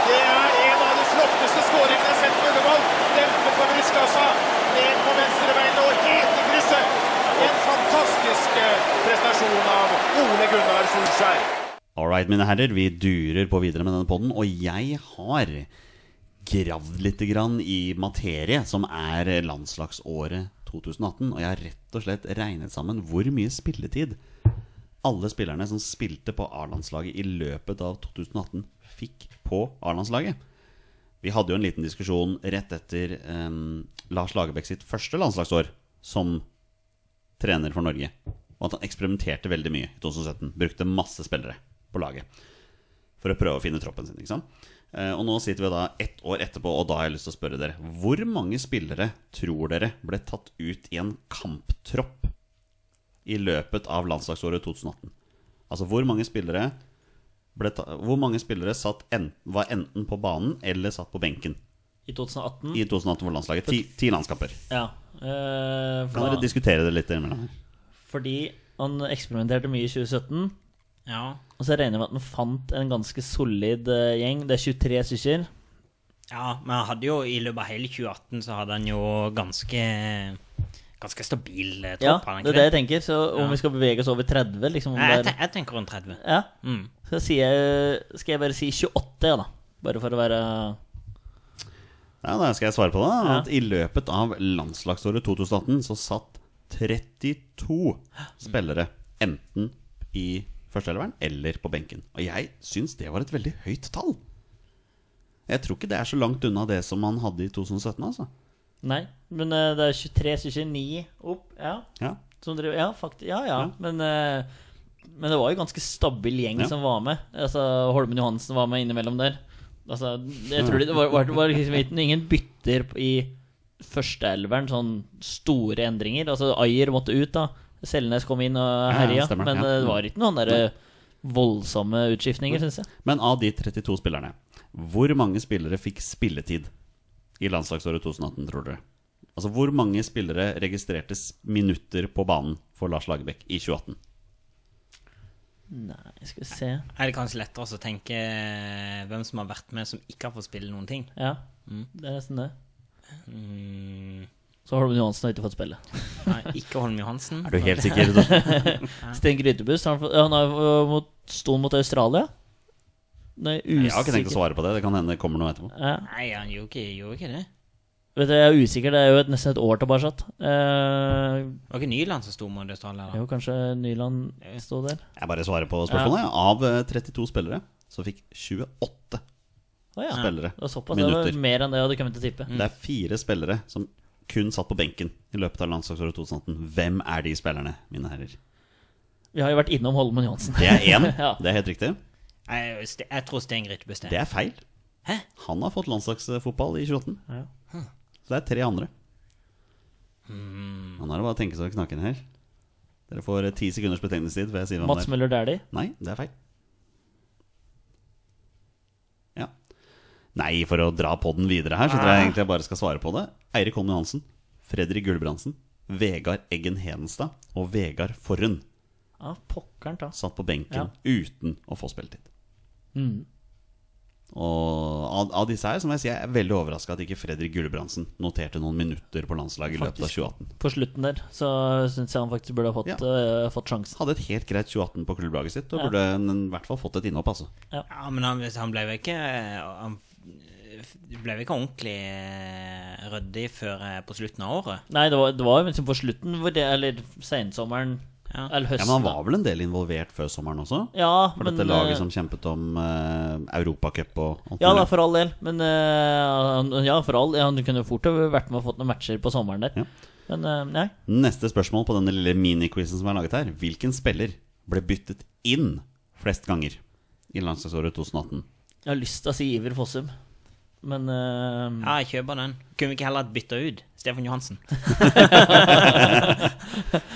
S6: Det er en av de flotteste skåringene jeg har sett på Ullevål. Dempe på brystkassa, ned på venstre bein og helt i krysset. En fantastisk eh, prestasjon av Ole Gunnar Solskjær.
S1: All right, mine herrer, vi durer på videre med denne podden, og jeg har gravd litt grann i materie, som er landslagsåret 2018, og jeg har rett og slett regnet sammen hvor mye spilletid alle spillerne som spilte på A-landslaget i løpet av 2018, fikk på A-landslaget. Vi hadde jo en liten diskusjon rett etter em, Lars Lagerbäck sitt første landslagsår som trener for Norge. Og at han eksperimenterte veldig mye i 2017. Brukte masse spillere på laget for å prøve å finne troppen sin. ikke sant? Eh, Og nå sitter vi da ett år etterpå, og da har jeg lyst til å spørre dere Hvor mange spillere tror dere ble tatt ut i en kamptropp i løpet av landslagsåret 2018? Altså hvor mange spillere ble ta Hvor mange spillere satt en, var enten på banen eller satt på benken
S2: I 2018.
S1: i 2018 for landslaget? Ti, ti landskamper.
S2: Ja. eh,
S1: Kan
S2: for
S1: dere
S2: da,
S1: diskutere det litt imellom? her?
S2: fordi han eksperimenterte mye i 2017.
S3: Ja.
S2: Og så regner jeg med at han fant en ganske solid eh, gjeng. Det er 23 stykker.
S3: Ja, men han hadde jo i løpet av hele 2018 så hadde han jo ganske Ganske stabil eh,
S2: Ja,
S3: tropp. hadde han
S2: det
S3: ikke
S2: er det jeg tenker. Så om
S3: Ja.
S2: vi skal bevege oss over 30, liksom om
S3: Nei, jeg,
S2: det er,
S3: ten- jeg tenker rundt 30.
S2: ja.
S3: Mm.
S2: Så sier jeg, skal jeg bare si 28, ja, da. Bare for å være
S1: Ja, da skal jeg svare på det. da,
S2: Ja.
S1: At I løpet av landslagsåret 2018 så satt 32 spillere enten i førsteeleveren eller på benken. Og jeg syns det var et veldig høyt tall. Jeg tror ikke det er så langt unna det som man hadde i 2017, altså.
S2: Nei, men eh, det er 23, så 29 opp. Ja,
S1: Ja.
S2: som dere, ja, fakt, ja, ja.
S1: Ja.
S2: Men, eh, men det var jo ganske stabil gjeng
S1: Ja.
S2: som var med. Altså, Holmen Johansen var med innimellom der. Altså, jeg tror det, det var, var, var liksom ikke- ingen bytter i førsteelveren, sånn store endringer. Altså, Ayer måtte ut, da. Selnes kom inn og
S1: ja,
S2: herja.
S1: stemmer,
S2: men
S1: ja.
S2: eh, det var ikke noen der eh, voldsomme utskiftninger, syns jeg.
S1: Men av de 32 spillerne, hvor mange spillere fikk spilletid i landslagsåret 2018, tror dere? Altså, hvor mange spillere registrerte s- minutter på banen for Lars Lagerbäck i 2018?
S2: Nei, skal vi se.
S3: Er det kanskje lettere også å tenke eh, hvem som har vært med, som ikke har fått spille noen ting?
S2: Ja, det er nesten det.
S3: Mm,
S2: Så Holmen Johansen har ikke fått spille.
S3: nei, ikke Holm Johansen.
S1: Er du helt sikker? Torsten?
S2: Sten Grytebust, han, får- han har øh, mot, sto mot Australia? Nei, usikker
S1: Jeg har ikke tenkt å svare på det. Det kan hende det kommer noe etterpå.
S2: Ja.
S3: Nei, han gjorde ikke, gjorde ikke det.
S2: Vet du, jeg er usikker, det er jo et, nesten et år tilbake. Uh,
S3: Det var ikke Nyland som sto mot Australia, da.
S2: jo, kanskje Nyland sto der.
S1: Jeg bare svarer på spørsmålet. Av eh, 32 spillere så fikk 28
S2: Å ja.
S1: spillere
S2: Det var såpass, det
S1: minutter. Mm.
S2: var mer enn det jeg hadde kommet til å tippe.
S1: Det er fire spillere som kun satt på benken i løpet av landslagsåret 2018. Hvem er de spillerne, mine herrer?
S2: Vi har jo vært innom Holmen Johansen.
S1: Det er én.
S2: Ja.
S1: Det er helt riktig.
S3: Jeg, Ste- jeg tror Sten Grytebust
S1: Det er feil. Han har fått landslagsfotball i 2018. Så det er tre andre.
S2: Hmm.
S1: Han har det bare å tenke seg å knakke ned her. Dere får eh, ti sekunders betenkningstid. før jeg sier hvem
S2: Mats
S1: det er.
S2: Møller Dæhlie.
S1: Nei, det er feil. Ja. Nei, for å dra podden videre her, så tror jeg egentlig jeg bare skal svare på det. Eirik Holm Johansen, Fredrik Gulbrandsen, Vegard Eggen Hedenstad og Vegard Forhund
S2: Ja, pokkeren ta.
S1: satt på benken
S2: Ja.
S1: uten å få spilletid. Og av, av disse her så må jeg si jeg er veldig overraska at ikke Fredrik Gulbrandsen noterte noen minutter på landslaget i løpet av 2018.
S2: På slutten der så syns jeg han faktisk burde ha fått,
S1: Ja.
S2: øh, fått sjansen.
S1: Hadde et helt greit 2018 på klubblaget sitt og burde en- en i hvert fall fått et innhopp, altså.
S3: Ja, men han, han ble jo ikke eh, Han ble jo ikke ordentlig eh, ryddig før eh, på slutten av året.
S2: Nei, det var, det var jo liksom på slutten, hvor det, eller sensommeren,
S3: Ja.
S2: eller
S1: Ja,
S2: høsten.
S1: Men han var vel en del involvert før sommeren også?
S2: Ja,
S1: For
S2: men,
S1: dette
S2: øh,
S1: laget som kjempet om uh, Europacup og alt
S2: Ja da,
S1: mulig.
S2: for all del. Men eh, han- ja, for all del. Han kunne fort ha vært med og fått noen matcher på sommeren der.
S1: Ja.
S2: Men eh, nei.
S1: Neste spørsmål på denne lille miniquizen som er laget her. Hvilken spiller ble byttet inn flest ganger i landslagsåret 2018?
S2: Jeg har lyst til å si Iver Fossum, men eh,
S3: Ja, jeg kjøper den. Kunne vi ikke heller bytta ut Stefan Johansen?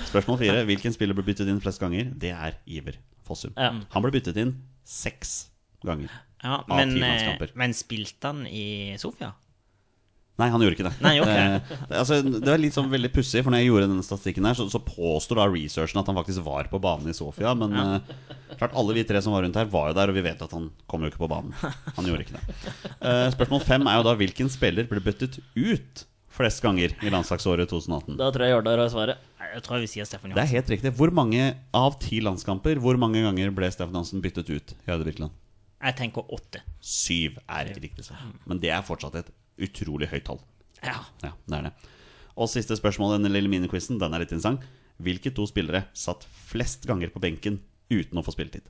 S1: Spørsmål fire. Hvilken spiller ble byttet inn flest ganger? Det er Iver Fossum.
S2: Ja.
S1: Han ble byttet inn seks ganger.
S3: Ja,
S1: Av
S3: men,
S1: ti
S3: eh,
S1: landskamper.
S3: men spilte han i Sofia?
S1: Nei, han gjorde ikke det.
S3: Nei, ok.
S1: Eh, det- altså, det var litt sånn veldig pussig, for når jeg gjorde denne statistikken her, så, så påstår da researchen at han faktisk var på banen i Sofia, men eh, klart alle vi tre som var rundt her, var jo der, og vi vet at han kom jo ikke på banen. Han gjorde ikke det. Eh, spørsmål fem er jo da hvilken spiller ble bøttet ut flest ganger i landslagsåret 2018?
S2: da tror jeg Jardar har svaret.
S3: Nei, Jeg tror vi sier Stefan
S1: Det er
S3: Johansen.
S1: helt riktig. Hvor mange av ti landskamper, hvor mange ganger ble Steffen Hansen byttet ut i Høyde Birkeland?
S3: Jeg tenker åtte.
S1: Syv er riktig svar. Men det er fortsatt et utrolig høyt tall.
S3: Ja.
S1: Ja, det er det. Og siste spørsmål i denne lille miniquizen, den er litt interessant. Hvilke to spillere satt flest ganger på benken uten å få spilletid?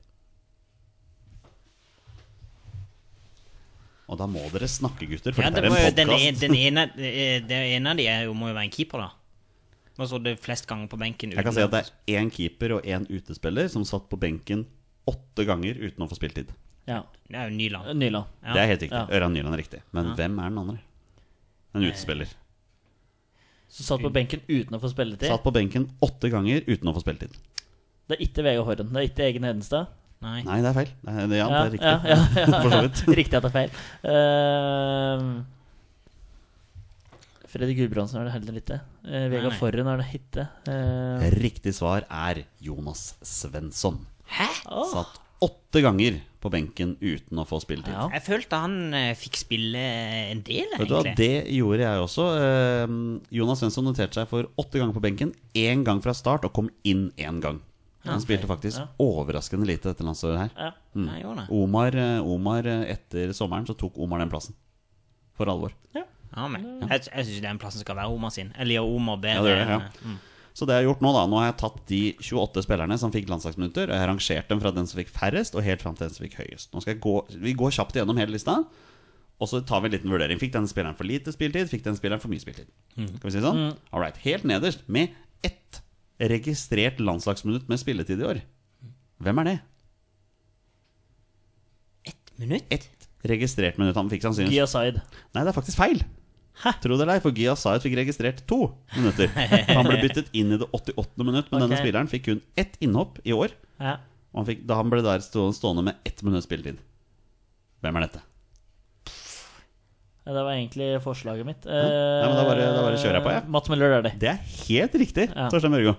S1: Og da må dere snakke, gutter, for
S3: ja det
S1: dette er
S3: må jo,
S1: en
S3: den, e-
S1: podkast.
S3: den ene, eh, det ene av de er jo, må jo være en keeper, da. Og så det flest ganger på benken.
S1: Jeg
S3: uten-
S1: kan si at det er én keeper og én utespiller som satt på benken åtte ganger uten å få spilletid.
S2: Ja.
S3: Det er jo Nyland.
S2: Nyland.
S3: Ja.
S1: Det er helt riktig.
S2: Ja.
S1: Ørjan Nyland er riktig. Men hvem er den andre? En utespiller.
S2: Som satt på benken uten å få spilletid.
S1: Satt på benken åtte ganger uten å få spilletid.
S2: Det er ikke Vegard Horren. Det er ikke Egen Hedenstad.
S3: Nei.
S1: Nei, det er feil. Det er, ja, det
S2: Ja,
S1: er riktig.
S2: ja, ja, ja.
S1: For så vidt.
S2: Riktig at det er feil. Eh, Fredrik Gudbrandsen er det heller ikke. Eh,
S3: Nei,
S2: Vegard
S3: nei.
S2: Forren er det ikke. Eh,
S1: Riktig svar er Jonas Svensson.
S3: Hæ?
S1: Satt åtte ganger på benken uten å få spilletid.
S2: ja.
S3: Jeg følte han eh, fikk spille eh, en del,
S1: Vet du hva,
S3: egentlig.
S1: Det gjorde jeg også. Eh, Jonas Svensson noterte seg for åtte ganger på benken, én gang fra start, og kom inn én gang. Han spilte faktisk overraskende lite dette landslaget her.
S2: Ja.
S3: Nei, gjorde han det?
S1: Omar, eh, Omar, eh, etter sommeren så tok Omar den plassen. For alvor.
S3: Ja, men jeg, jeg syns den plassen skal være Omar sin. Eller gjør Omar
S1: Ja,
S3: bedre.
S1: det eh, mm. gjør det,
S3: enn-
S1: ja. Så det jeg har gjort nå da, nå har jeg tatt de 28 spillerne som fikk landslagsminutter, og jeg har rangert dem fra den som fikk færrest, og helt fram til den som fikk høyest. Nå skal jeg gå, Vi går kjapt gjennom hele lista, Og så tar vi en liten vurdering. Fikk denne spilleren for lite spiltid? Fikk denne spilleren for mye spiltid? Skal vi si det sånn? All right. Helt nederst, med ett registrert landslagsminutt med spilletid i år. Hvem er det?
S3: Minutt?
S1: Ett registrert minutt. Han fikk sannsynligvis
S2: Giaside.
S1: Nei, det er faktisk feil. Tro det eller ei, for Gia Sayed fikk registrert to minutter. Han ble byttet inn i det 88. minutt, men denne
S2: Ok.
S1: spilleren fikk kun ett innhopp i år.
S2: Ja.
S1: Og han fikk, da han ble der stå- stående med ett minutts spilletid. Hvem er dette?
S2: Ja, Det var egentlig forslaget mitt. Eh,
S1: Nei, Mm. men da bare- da bare kjører jeg på, jeg.
S2: Mats Møller er det.
S1: Det er helt riktig,
S2: Ja.
S1: Torstein Mørgo.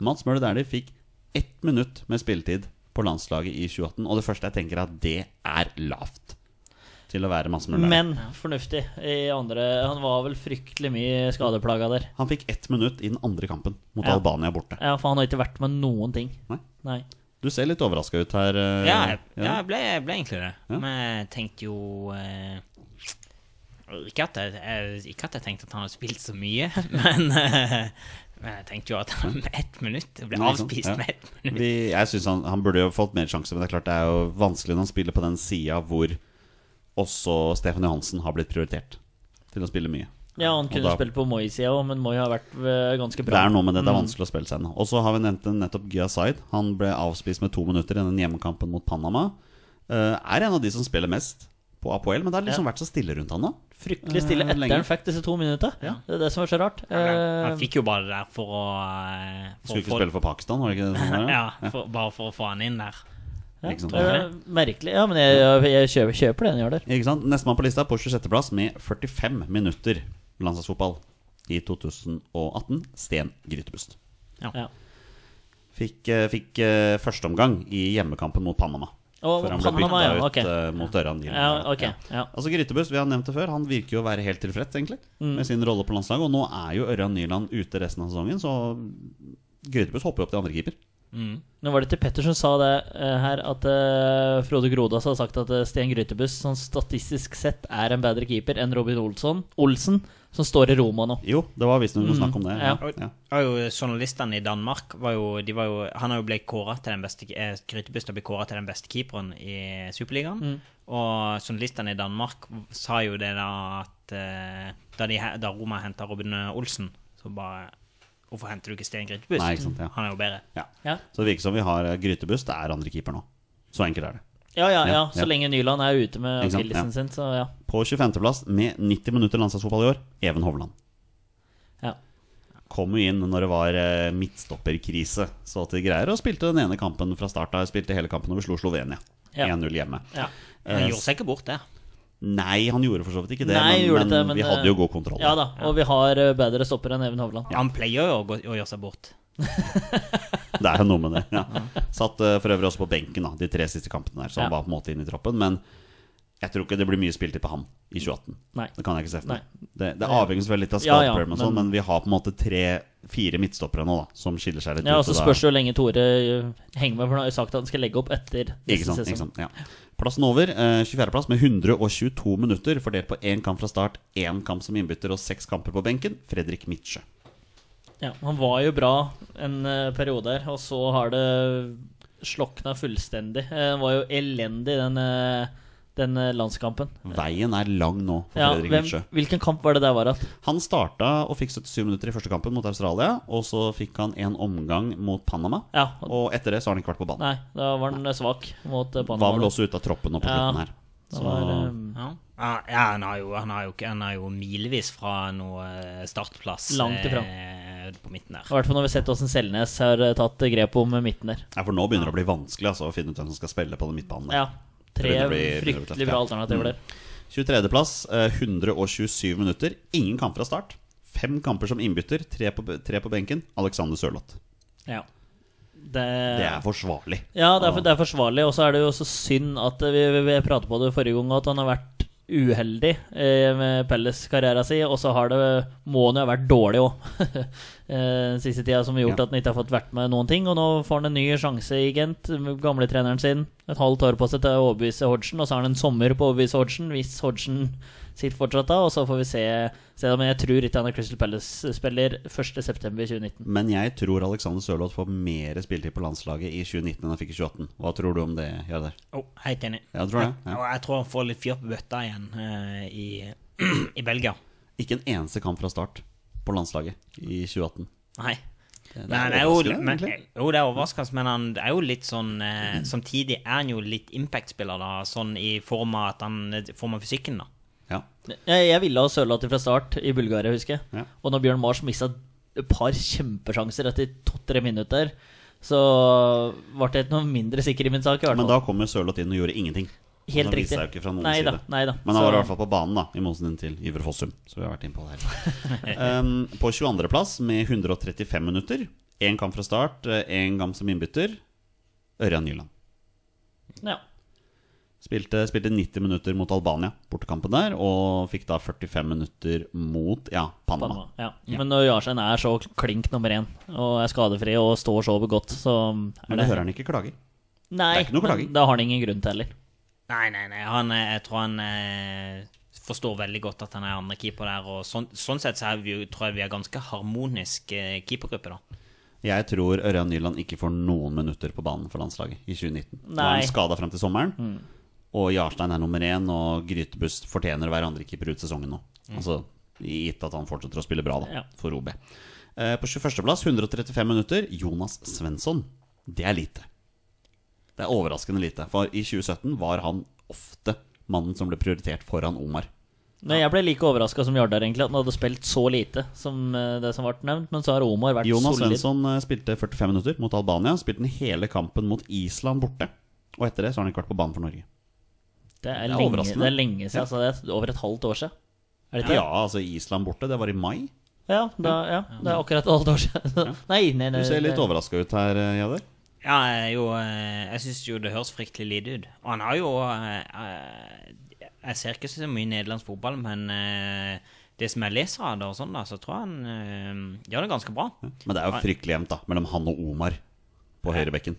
S1: Mats Møller Dæhlie fikk ett minutt med spilletid på landslaget i 2018, og det første jeg tenker er at det er lavt til å være Mats Møller Dæhlie.
S2: Men fornuftig. I andre Han var vel fryktelig mye skadeplaga der.
S1: Han fikk ett minutt i den andre kampen mot
S2: Ja.
S1: Albania borte.
S2: Ja, for han har ikke vært med noen ting.
S1: Nei.
S2: Nei.
S1: Du ser litt overraska ut her. eh,
S3: Ja, jeg,
S1: Jørgen.
S3: ja, jeg, ble, jeg ble egentlig det.
S1: Ja.
S3: Men jeg tenkte jo eh, ikke, at jeg, jeg, ikke at jeg tenkte at han hadde spilt så mye, men, eh, men jeg tenkte jo at han med ett minutt ble
S1: Ja, ikke sant?
S3: avspist
S1: Liksom, Ja.
S3: med ett minutt.
S1: Vi, jeg synes han, han burde jo fått mer sjanse, men det er klart det er jo vanskelig når han spiller på den sida hvor også Stefan Johansen har blitt prioritert til å spille mye.
S2: Ja, han kunne
S1: da-
S2: spilt på Moi-sida òg, men Moi har vært eh, ganske
S1: Det
S2: bra.
S1: er noe med det, det er vanskelig å spille seg inn. Og så har vi nevnt den nettopp Gia Zaid. Han ble avspist med to minutter i den hjemmekampen mot Panama. Eh, er en av de som spiller mest på Apoel, men det har liksom vært så stille rundt han nå.
S2: Fryktelig stille
S1: Eh,
S2: etter
S1: lenge.
S2: han fikk disse to minutta. Det er det som er så rart.
S3: Han
S2: Eh,
S3: fikk jo bare det der for å eh,
S1: Skulle
S3: for å
S1: ikke
S3: få-
S1: spille for Pakistan, var det ikke det? Sånn, der,
S3: Ja, for, bare for å få han inn der.
S1: ja? Ikke sant?
S2: det er Eh, merkelig. Ja, men jeg, jeg, jeg kjøper, kjøper det han gjør der.
S1: Ikke sant? Nestemann på lista er på 26.-plass med 45 minutter landslagsfotball i 2018. Sten Grytebust.
S3: Ja.
S2: Ja.
S1: Fikk, eh, fikk eh, førsteomgang i hjemmekampen mot Panama.
S2: Å,
S1: For han ble
S2: Panama,
S1: bytta
S2: ja,
S1: ut
S2: ok.
S1: eh, mot Ørjan Gilden.
S2: Ja, ok. Ja.
S1: Altså Grytebust, vi har nevnt det før, han virker jo å være helt tilfreds egentlig
S2: Mm.
S1: med sin rolle på landslaget. Og nå er jo Ørjan Nyland ute resten av sesongen, så Grytebust hopper jo opp til andrekeeper.
S2: Nå var det til Petter som sa det eh, her, at eh, Frode Grodås har sagt at eh, Sten Grytebuss sånn statistisk sett er en bedre keeper enn Robin Olsson, Olsen, som står i Roma nå.
S1: Jo, det var visstnok noe snakk om det.
S2: Mm. ja.
S1: Ja.
S3: Og jo, journalistene i Danmark var jo, de var jo Han har jo blitt kåret til den beste eh, Grytebust har blitt kåret til den beste keeperen i Superligaen. Og journalistene i Danmark sa jo det da at eh, Da, de, he- da Roma henta Robin Olsen, så bare Hvorfor henter du ikke Sten Grytebust?
S1: Nei, ikke sant, ja.
S3: Han er jo bedre.
S1: Ja.
S2: Ja.
S1: Så det virker som vi har eh, Grytebust det er andrekeeper nå. Så enkelt er det.
S2: Ja, ja, ja.
S1: Ja,
S2: Så
S1: ja.
S2: lenge Nyland er ute med
S1: Ikke sant,
S2: akillesen
S1: ja.
S2: sin, så ja.
S1: På 25.-plass med 90 minutter landslagsfotball i år, Even Hovland.
S2: ja.
S1: Kom jo inn når det var eh, midtstopperkrise, så til greier, og spilte den ene kampen fra start av. Spilte hele kampen over slo Slovenia.
S2: Ja.
S1: 1-0 hjemme.
S2: ja.
S1: Eh,
S3: Han gjorde seg ikke bort der.
S1: Nei, han gjorde for så vidt ikke det,
S2: Nei,
S1: men,
S2: gjorde
S1: men,
S2: det, men, eh,
S1: vi hadde jo god kontroll.
S2: Ja da, og vi har eh, bedre stopper enn Even Hovland.
S3: Han pleier jo å, gå, å gjøre seg bort.
S1: Det er jo noe med det. Ja. Satt eh, for øvrig også på benken da, de tre siste kampene der, så
S2: Ja.
S1: han var på en måte inne i troppen. Men jeg tror ikke det blir mye spiltid på han i 2018.
S2: Nei.
S1: Det kan jeg ikke se for meg.
S2: Nei.
S1: Det, det avhenger selvfølgelig litt av
S2: Ja, ja,
S1: skadeproblemet, og sånn,
S2: men-
S1: men vi har på en måte tre-fire midtstoppere nå da, som skiller seg litt
S2: Ja, og
S1: ut.
S2: så
S1: og da-
S2: spørs det hvor lenge Tore eh, henger med, for han har jo sagt at han skal legge opp etter
S1: Ikke
S2: neste
S1: sant, ikke
S2: sesong.
S1: sant, ja. Plassen over, eh, 24.-plass med 122 minutter, fordelt på én kamp fra start, én kamp som innbytter og seks kamper på benken. Fredrik Midtsjø.
S2: Ja, han var jo bra en eh, periode her, og så har det slokna fullstendig. Eh, Han var jo elendig den, eh, den eh, landskampen.
S1: Veien er lang nå for
S2: Ja,
S1: Fredrik
S2: hvem,
S1: Midtsjø.
S2: hvilken kamp var det der var igjen?
S1: Han starta og fikk 77 minutter i første kampen mot Australia, og så fikk han en omgang mot Panama.
S2: Ja,
S1: Og etter det så har han ikke vært på banen.
S2: nei, da var han eh, svak mot eh, Panama.
S1: Var vel også ute av troppen nå på
S2: Ja.
S1: slutten her.
S2: Det
S1: Så
S2: var, eh,
S3: Ja, ja han, har jo, han, har jo, ikke- han er jo milevis fra noe eh, startplass
S2: Langt ifra.
S3: eh, på midten der.
S2: I hvert fall når vi har sett åssen Selnes har eh, tatt eh, grep om eh, midten der.
S1: ja, for nå begynner det å bli vanskelig altså, å finne ut hvem som skal spille på den midtbanen. der.
S2: Ja, tre
S1: Det blir- det blir tøft,
S2: fryktelig bra
S1: ja. Mm.
S2: alternativer der.
S1: 23.-plass, eh, 127 minutter. Ingen kamp fra start. Fem kamper som innbytter, tre på, tre på benken. Alexander Sørloth.
S2: Ja. Det,
S1: Det er forsvarlig.
S2: Ja, det er, for- det er forsvarlig. Og så er det jo så synd at eh, vi, vi, vi pratet på det forrige gang, at han har vært uheldig eh, med Pelles karriera si, og så har det må han jo ha vært dårlig òg eh, siste tida, som har gjort
S1: Ja.
S2: at han ikke har fått vært med noen ting. Og nå får han en ny sjanse i Gent, med gamletreneren sin. Et halvt år på seg til å overbevise Hodgson, og så har han en sommer på å overbevise Hodgson, hvis Hodgson sitt fortsatt da, og så får vi se, se da. Men jeg tror ikke han er Crystal Palace-spiller 1.9.2019.
S1: Men jeg tror Alexander Sørloth får mer spilletid på landslaget i 2019 enn han fikk i 2018. Hva tror du om det, Jardar?
S3: Oh, helt enig.
S1: Ja, jeg tror det, ja.
S3: Og jeg tror han får litt fyr på bøtta igjen eh, i, i Belgia.
S1: Ikke en eneste kamp fra start på landslaget i 2018.
S3: Nei.
S1: Det,
S3: Men han er jo,
S1: overraskende,
S3: men,
S1: egentlig.
S3: jo, det er overraskende, men han er jo litt sånn eh, Samtidig er han jo litt impact-spiller, da. Sånn i form av at han eh, form av fysikken, da.
S1: Ja.
S2: Jeg, jeg ville ha Sørloth fra start i Bulgaria, husker jeg.
S1: Ja.
S2: Og når Bjørn Mars mista et par kjempesjanser etter to-tre minutter, så ble jeg ikke noe mindre sikker i min sak. i hvert
S1: Men
S2: fall.
S1: da kom jo Sørloth inn og gjorde ingenting.
S2: Helt
S1: han
S2: riktig.
S1: viste seg jo ikke fra noen
S2: Nei da,
S1: side.
S2: nei da.
S1: Men han var i
S2: Så-
S1: hvert fall på banen, da, i motsetning til Iver Fossum. Så vi har vært inne på det her. um, på 22.-plass med 135 minutter. Én kamp fra start, én kamp som innbytter. Ørjan Nyland.
S2: Ja.
S1: Spilte, spilte 90 minutter mot Albania, bortekampen der, og fikk da 45 minutter mot ja, Panama.
S2: Panama. Ja. Men når Jarstein er så klink nummer én og er skadefri og står så godt, så er
S1: Men
S2: det
S1: det hører han ikke klager.
S2: Nei,
S1: det er ikke noe
S2: men
S1: klaging.
S2: Da har han ingen grunn til heller.
S3: Nei, nei, nei. Han, eh, jeg tror han eh, forstår veldig godt at han er andre keeper der. Og sånn, sånn sett så er vi, jo- tror jeg vi er ganske harmonisk eh, keepergruppe, da.
S1: Jeg tror Ørjan Nyland ikke får noen minutter på banen for landslaget i 2019. Nå er
S2: Nei. Mm.
S1: han skada frem til sommeren, og Jarstein er nummer én, og Grytebuss fortjener å være andrekeeper ut sesongen nå. Altså, Gitt at han fortsetter å spille bra da,
S2: Mm. Ja.
S1: for OB. Eh, på 21.-plass, 135 minutter, Jonas Svensson. Det er lite. Det er overraskende lite, for i 2017 var han ofte mannen som ble prioritert foran Omar.
S2: Men jeg ble like overraska som Jardar, egentlig, at han hadde spilt så lite som eh, det som ble nevnt. Men så har Omar vært
S1: Jonas
S2: solid.
S1: Svensson eh, spilte 45 minutter mot Albania. Spilte den hele kampen mot Island borte. Og etter det så har han ikke vært på banen for Norge.
S2: Det
S1: Det
S2: er,
S1: er
S2: lenge,
S1: overraskende.
S2: det er lenge siden. Altså, det er over et halvt år siden. Er det ikke
S1: Ja, altså Island borte, det var i mai.
S2: det? Ja, da, ja, det er akkurat et halvt år siden. Nei, nei, nei,
S1: Du ser litt
S2: nei.
S1: overraska ut her, eh, Jadar.
S3: Ja, jeg er jo, eh, jeg syns jo det høres fryktelig lite ut. Og han har jo eh, eh, Jeg ser ikke så mye nederlandsk fotball, men eh, det som jeg leser av det, og sånn da, så tror jeg han eh, gjør det ganske bra.
S1: Men det er jo fryktelig jevnt da, mellom han og Omar på høyrebekken.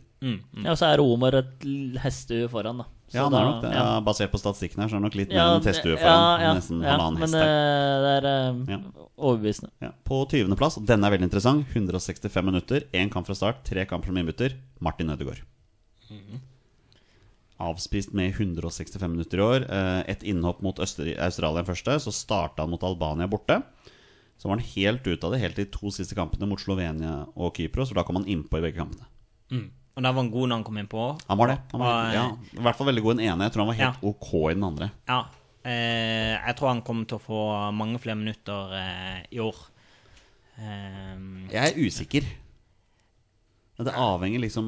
S2: Ja, og så er Omar et l- hestehue foran, da. Så
S1: Ja, han
S2: da,
S1: er nok det.
S2: ja.
S1: Ja, basert på statistikken her, så er det nok litt
S2: Ja,
S1: mer enn testue for
S2: ja,
S1: han.
S2: ja,
S1: Nesten
S2: ja,
S1: halvannen hest
S2: Men
S1: her.
S2: eh, det er eh,
S1: Ja.
S2: overbevisende.
S1: Ja. På 20.-plass, denne er veldig interessant, 165 minutter, én kamp fra start, tre kamper som innbytter, Martin Ødegaard. Avspist med 165 minutter i år. Eh, Et innhopp mot Øster Australia første, så starta han mot Albania borte. Så var han helt ute av det helt til de to siste kampene mot Slovenia og Kypros, for da kom han innpå i begge kampene.
S3: Og da var han god når han kom innpå.
S1: Han var det. Han var,
S3: Og,
S1: ja, I hvert fall veldig god i den ene. Jeg tror han var helt
S3: Ja.
S1: ok i den andre.
S3: Ja. Eh, jeg tror han kommer til å få mange flere minutter eh, i år. Eh,
S1: Jeg er usikker. Men det avhenger liksom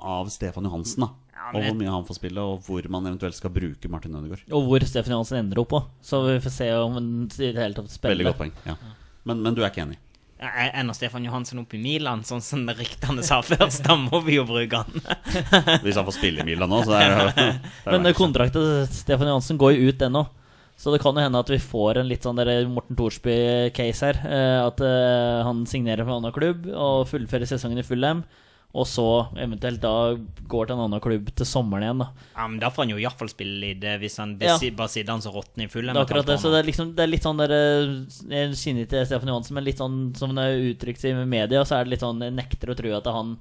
S1: av Stefan Johansen, da.
S3: Ja,
S1: Og
S3: men-
S1: hvor mye han får spille, og hvor man eventuelt skal bruke Martin Ødegaard.
S2: Og hvor Stefan Johansen ender opp på. Så vi får se om han i det hele tatt
S1: Veldig
S2: spiller.
S1: godt poeng. Ja. Men, men du er ikke enig?
S3: jeg ender Stefan Johansen opp i Milan, sånn som ryktene sa først. Da må vi jo bruke han.
S1: Hvis han får spille i Milan nå, så er det, det er
S2: Men eh,
S1: verdt det.
S2: kontrakten til Stefan Johansen går jo ut ennå. Så det kan jo hende at vi får en litt sånn der Morten Thorsby-case her. eh, At eh, han signerer for en annen klubb og fullfører sesongen i Fulham. Og så eventuelt da går til en annen klubb til sommeren igjen. da
S3: Ja, men Da får han jo iallfall spille i det, hvis han
S2: Ja.
S3: bare sitter han så råtner i full.
S2: Det er akkurat det, så det er, liksom, det er litt sånn der eh, Jeg kjenner ikke Stefan Johansen, men litt sånn som det er uttrykt i media, så er det litt sånn Jeg nekter å tro at han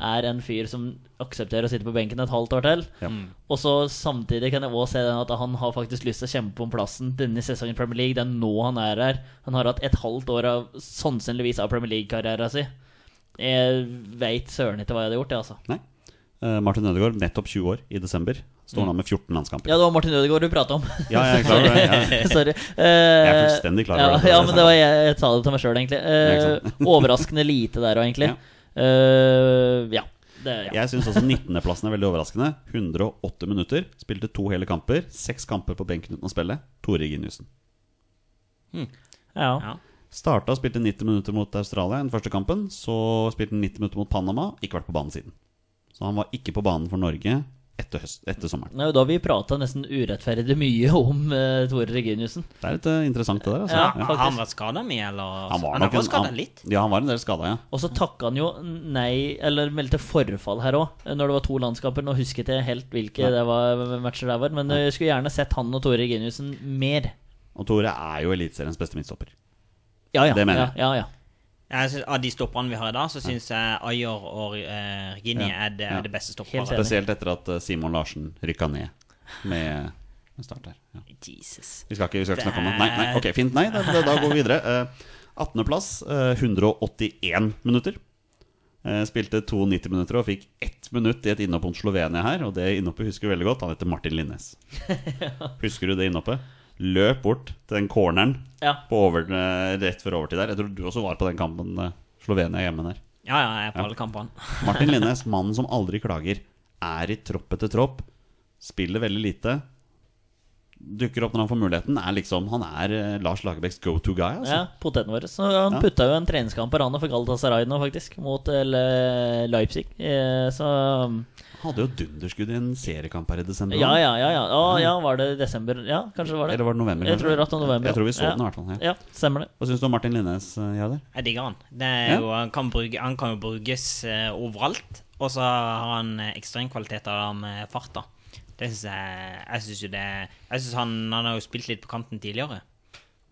S2: er en fyr som aksepterer å sitte på benken et halvt år til.
S1: Ja.
S2: Og så samtidig kan jeg òg se den at han har faktisk lyst til å kjempe om plassen denne sesongen i Premier League. Det er nå han er her. Han har hatt et halvt år av sannsynligvis av Premier League-karrieren sin. Jeg veit søren ikke hva jeg hadde gjort, jeg, altså.
S1: Nei. Eh, Martin Ødegaard, nettopp 20 år i desember, står nå med 14 landskamper.
S2: Ja, det var Martin Ødegaard du prata om.
S1: Ja, jeg er klar over det. Ja.
S2: Sorry. Eh,
S1: Jeg er fullstendig klar over
S2: ja,
S1: at det
S2: Ja,
S1: var det
S2: men
S1: samme.
S2: det var jeg, jeg sa det til meg sjøl, egentlig. Eh,
S1: ikke
S2: overraskende lite der òg, egentlig.
S1: Ja.
S2: Eh, ja. Det, ja.
S1: Jeg syns også 19.-plassen er veldig overraskende. 108 minutter. Spilte to hele kamper. Seks kamper på benken uten å spille. Tore Giniussen.
S2: Ja.
S3: Ja.
S1: Starta og spilte 90 minutter mot Australia i den første kampen. Så spilte han 90 minutter mot Panama. Ikke vært på banen siden. Så han var ikke på banen for Norge etter, høst, etter sommeren.
S2: Det er jo da vi prata nesten urettferdig mye om eh, Tore Reginiussen.
S1: Det er litt eh, interessant, det der. Altså.
S2: Ja,
S1: Ja.
S3: Har han vært skada mye, eller?
S1: nok
S3: har vært
S1: en-
S3: skadet
S1: han-
S3: litt.
S1: Ja, han var en del skada, ja.
S2: Og så takka han jo nei, eller meldte forfall her òg, når det var to landskamper. Nå husket jeg helt hvilke det var, matcher det var, men jeg skulle gjerne sett han og Tore Reginiussen mer.
S1: Og Tore er jo Eliteseriens beste midtstopper.
S2: Ja, ja.
S1: Det mener
S2: ja,
S1: jeg.
S2: ja, ja.
S3: Jeg synes, av de stopperne vi har i dag, så syns jeg Ayer og eh, Regini
S1: Ja.
S3: er det,
S1: Ja.
S3: er det beste
S2: Helt
S3: stopparet.
S2: enig.
S1: Spesielt etter at eh, Simon Larsen rykka ned med, med start der. Ja.
S3: Jesus.
S1: Vi skal ikke, vi skal ikke snakke om det. Nei, nei, ok, fint. Nei, da, da går vi videre. Eh, 18.-plass, eh, 181 minutter. Eh, spilte 92 minutter og fikk ett minutt i et innhopp mot Slovenia her. Og det innhoppet husker vi veldig godt. Han heter Martin Linnes. Husker du det innhoppet? Løp bort til den corneren
S2: Ja.
S1: på over, eh, rett før overtid der. Jeg tror du også var på den kampen eh, Slovenia hjemme der.
S3: Ja, ja, jeg er på alle kampene.
S1: Martin Linnes, mannen som aldri klager, er i tropp etter tropp, spiller veldig lite, dukker opp når han får muligheten, er liksom Han er eh, Lars Lagerbäcks go to guy, altså.
S2: Ja, poteten vår. Så han
S1: Ja.
S2: putta jo en treningskamp på randa for Galatasaray nå, faktisk, mot eller, Leipzig. Eh, Så
S1: Han Hadde jo dunderskudd i en seriekamp her i desember.
S2: Ja, ja, ja. ja. Å, ja, var det i desember? Ja, kanskje det var det.
S1: Eller var det november?
S2: Jeg
S1: kanskje?
S2: tror det var november.
S1: Jeg tror vi så
S2: ja.
S1: den i hvert fall. Ja.
S2: Ja, stemmer det.
S1: Hva syns du om Martin Linnes, eh, Jader?
S3: Jeg digger han. Det er
S1: Ja.
S3: jo, han, kan bruke, han kan jo brukes eh, overalt. Og så har han eh, ekstremkvaliteter med fart, da. Det synes jeg Jeg syns jo det Jeg synes han, han har jo spilt litt på kanten tidligere.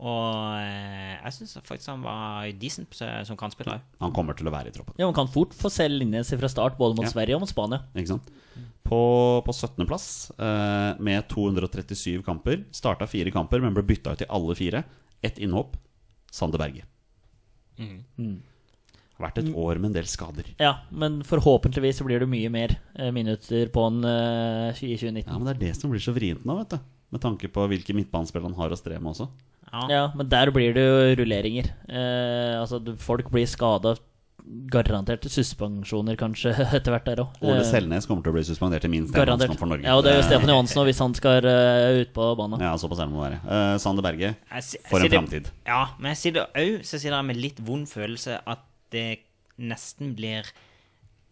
S3: Og eh, jeg syns faktisk han var decent som- som kantspiller òg.
S1: Han kommer til å være i troppen.
S2: Ja, Man kan fort få se Linnes fra start, både mot
S1: Ja.
S2: Sverige og mot Spania.
S1: Ikke sant? På, på 17.-plass, eh, med 237 kamper. Starta fire kamper, men ble bytta ut i alle fire. Ett innhopp. Sander Berge.
S2: Mm.
S1: Vært et år med en del skader.
S2: Ja, men forhåpentligvis så blir det mye mer eh, minutter på en eh, i 2019.
S1: Ja, men Det er det som blir så vrient nå, vet du. Med tanke på hvilke midtbanespill han har å stre med også.
S2: Ja, men der blir det jo rulleringer. Eh, altså, du- folk blir skada. Garanterte suspensjoner, kanskje, etter hvert der òg.
S1: Ole Selnes kommer til å bli suspendert i minst en
S2: Eh, Garantert.
S1: landskamp for Norge.
S2: Ja, og det er jo Stefan Johansen og hvis han skal eh, ut på banen.
S1: Ja, såpass er det må være. Eh, Sander Berge,
S3: Jeg si- jeg
S1: for en
S3: sitter-
S1: framtid.
S3: Ja, men jeg sitter òg så sitter jeg med litt vond følelse at det nesten blir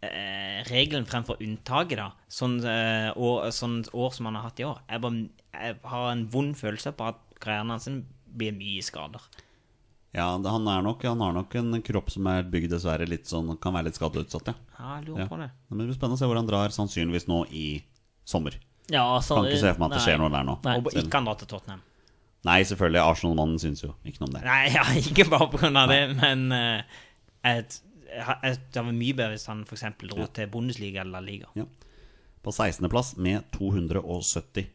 S3: eh, regelen fremfor unntaket, da. Sånn, eh, år, sånn år som han har hatt i år. Jeg, bare, jeg har en vond følelse på at karrieren hans blir mye skader.
S1: Ja, det- han, er nok, han har nok en kropp som er bygd dessverre litt sånn Kan være litt skadeutsatt, ja.
S3: Ja, jeg lurer
S1: ja.
S3: på det.
S1: Men det blir spennende å se hvor han drar, sannsynligvis nå i sommer.
S2: Ja, så,
S1: Kan ikke se for meg at det
S2: nei.
S1: skjer noe der nå.
S2: Nei.
S1: Selv-
S3: Og altså, ikke han drar til Tottenham.
S1: Nei, selvfølgelig. Arsenal-mannen syns jo ikke noe om det.
S3: Nei, ja, ikke bare på grunn av det, men eh, jeg, jeg, jeg, det var mye bedre hvis han f.eks. dro til Bundesliga eller La Liga.
S1: Ja. På 16.-plass med 270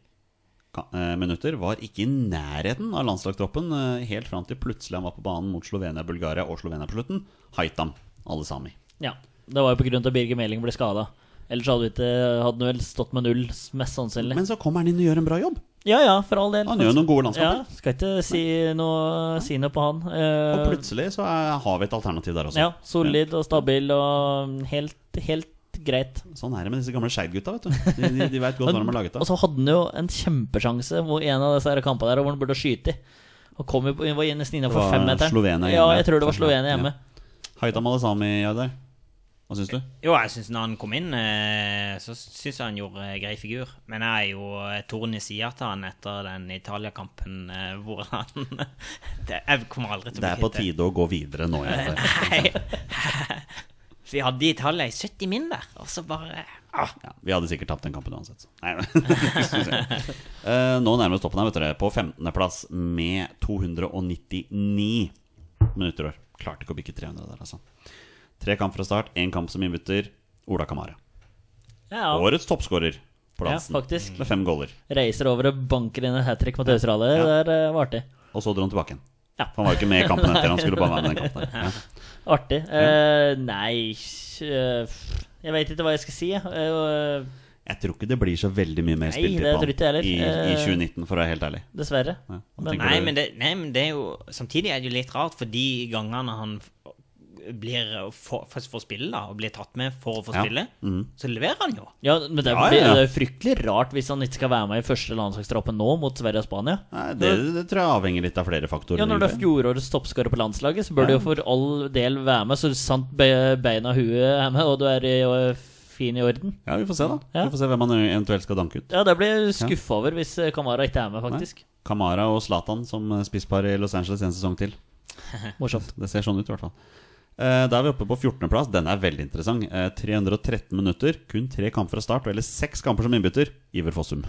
S1: ka- eh, minutter var ikke i nærheten av landslagstroppen eh, helt fram til plutselig han var på banen mot Slovenia, Bulgaria og Slovenia på slutten. Haitam, alle sami.
S2: Ja, det var jo på grunn av at Birger Meling ble skada. Ellers hadde, vi ikke, hadde han vel stått med null, mest sannsynlig.
S1: Men så kommer han inn og gjør en bra jobb.
S2: ja ja, for all del.
S1: Han gjør jo noen gode
S2: ja,
S1: landskamper.
S2: Skal ikke si noe, si noe på han. Eh,
S1: Og plutselig så er, har vi et alternativ der også.
S2: ja, solid og stabil og helt, helt greit.
S1: Sånn er det med disse gamle Skeid-gutta, vet du. De, de, de veit godt hva de har laget
S2: Og
S1: av.
S2: så hadde han jo en kjempesjanse hvor en av disse her kampene der hvor han burde skyte i. Og kom jo på, var
S1: Det
S2: nesten innafor
S1: var
S2: femmeteren.
S1: Slovenia
S2: Ja,
S1: hjemme.
S2: jeg tror det var Slovenia hjemme.
S1: Haitam alle sami, Jardar. Hva syns du?
S3: Jo, jeg synes når han kom inn, eh, så syns jeg han gjorde eh, grei figur. Men jeg er jo eh, torn i sida til han etter den Italia-kampen eh, hvor han det, Jeg kommer aldri til å
S1: Det er på
S3: kvitt det.
S1: tide å gå videre nå. Jardar.
S3: Vi hadde Italia i 70 min der, og så bare ah,
S1: Ja, vi hadde sikkert tapt den kampen uansett. Så. Nei, men- Eh, nå nærmer vi oss toppen her, vet dere. På 15.-plass med 299 minutter år. Klarte ikke å bikke 300 der, altså. Tre kamp fra start, én kamp som innbytter. Ola Kamara.
S2: Ja,
S1: Årets toppskårer på
S2: ja,
S1: dansen.
S2: faktisk.
S1: med fem goaler.
S2: Reiser over og banker inn en hat trick mot Australia.
S1: Ja.
S2: Det er, eh, var artig.
S1: Og så dro han tilbake igjen.
S2: Ja.
S1: For han var jo ikke med i kampen etter. Han skulle bare være med i den kampen. der. Ja.
S2: Artig. Eh, nei eh, Jeg vet ikke hva jeg skal si. jeg. Eh,
S1: Jeg tror ikke det blir så veldig mye mer
S2: Nei,
S1: spiltid
S2: det
S1: på
S2: tror ikke jeg
S1: han
S2: heller.
S1: i, i 2019, for å være helt ærlig.
S2: dessverre.
S1: Ja, hva
S2: Men-
S1: tenker
S3: nei,
S1: du?
S3: men det, nei, men det er jo Samtidig er det jo litt rart, for de gangene han f- blir eh, for, for, for spille, da, og blir tatt med for å få
S1: Ja. Mm.
S3: spille, så leverer han jo.
S2: Ja, men det er,
S1: Ja, ja, ja.
S2: det er fryktelig rart hvis han ikke skal være med i første landslagstroppen nå, mot Sverige og Spania.
S1: Nei, det, det tror jeg avhenger litt av flere faktorer.
S2: Ja, Når du er
S1: egentlig.
S2: fjorårets toppskårer på landslaget, så bør du jo for all del være med, så sant be- beina og huet er med, og du er i, og fin i orden.
S1: Ja, vi får se, da.
S2: Ja.
S1: Vi får se hvem han eventuelt skal danke ut.
S2: Ja, det blir jeg skuffa over hvis eh, Kamara ikke er med, faktisk.
S1: Kamara og Zlatan som eh, spisspar i Los Angeles en sesong til.
S2: Morsomt.
S1: Det ser sånn ut, i hvert fall. Eh, Da er vi oppe på 14.-plass. Den er veldig interessant. Eh, 313 minutter, kun tre kamper fra start, og eller seks kamper som innbytter. Iver Fossum.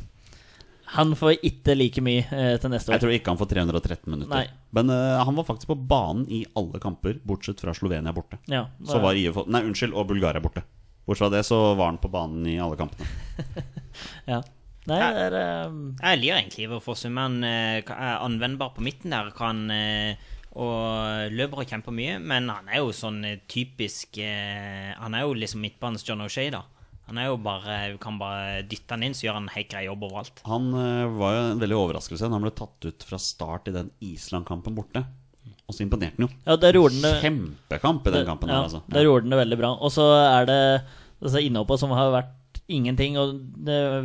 S2: Han får ikke like mye eh, til neste
S1: Jeg
S2: år.
S1: tror ikke han får 313 minutter.
S2: Nei.
S1: Men eh, han var faktisk på banen i alle kamper, bortsett fra Slovenia borte.
S2: Ja,
S1: Så var IF Nei, unnskyld, og Bulgaria borte. Bortsett fra det så var han på banen i alle kampene.
S2: ja. Nei, det er eh,
S3: Jeg liker egentlig hvorfor Summen eh, ka- er anvendbar på midten der. Kan eh, og løper og kjemper mye, men han er jo sånn eh, typisk eh, Han er jo liksom midtbanens John O'Shay, da. Han er jo bare Du kan bare dytte han inn, så gjør han en helt grei jobb overalt.
S1: Han eh, var jo en veldig overraskelse da han ble tatt ut fra start i den Island-kampen borte. Og så imponerte han jo.
S2: Ja, der gjorde han det
S1: Kjempekamp i den
S2: Det-
S1: kampen
S2: ja,
S1: der, altså.
S2: Der gjorde den det veldig bra. Og så er det disse innhoppene som har vært ingenting. Og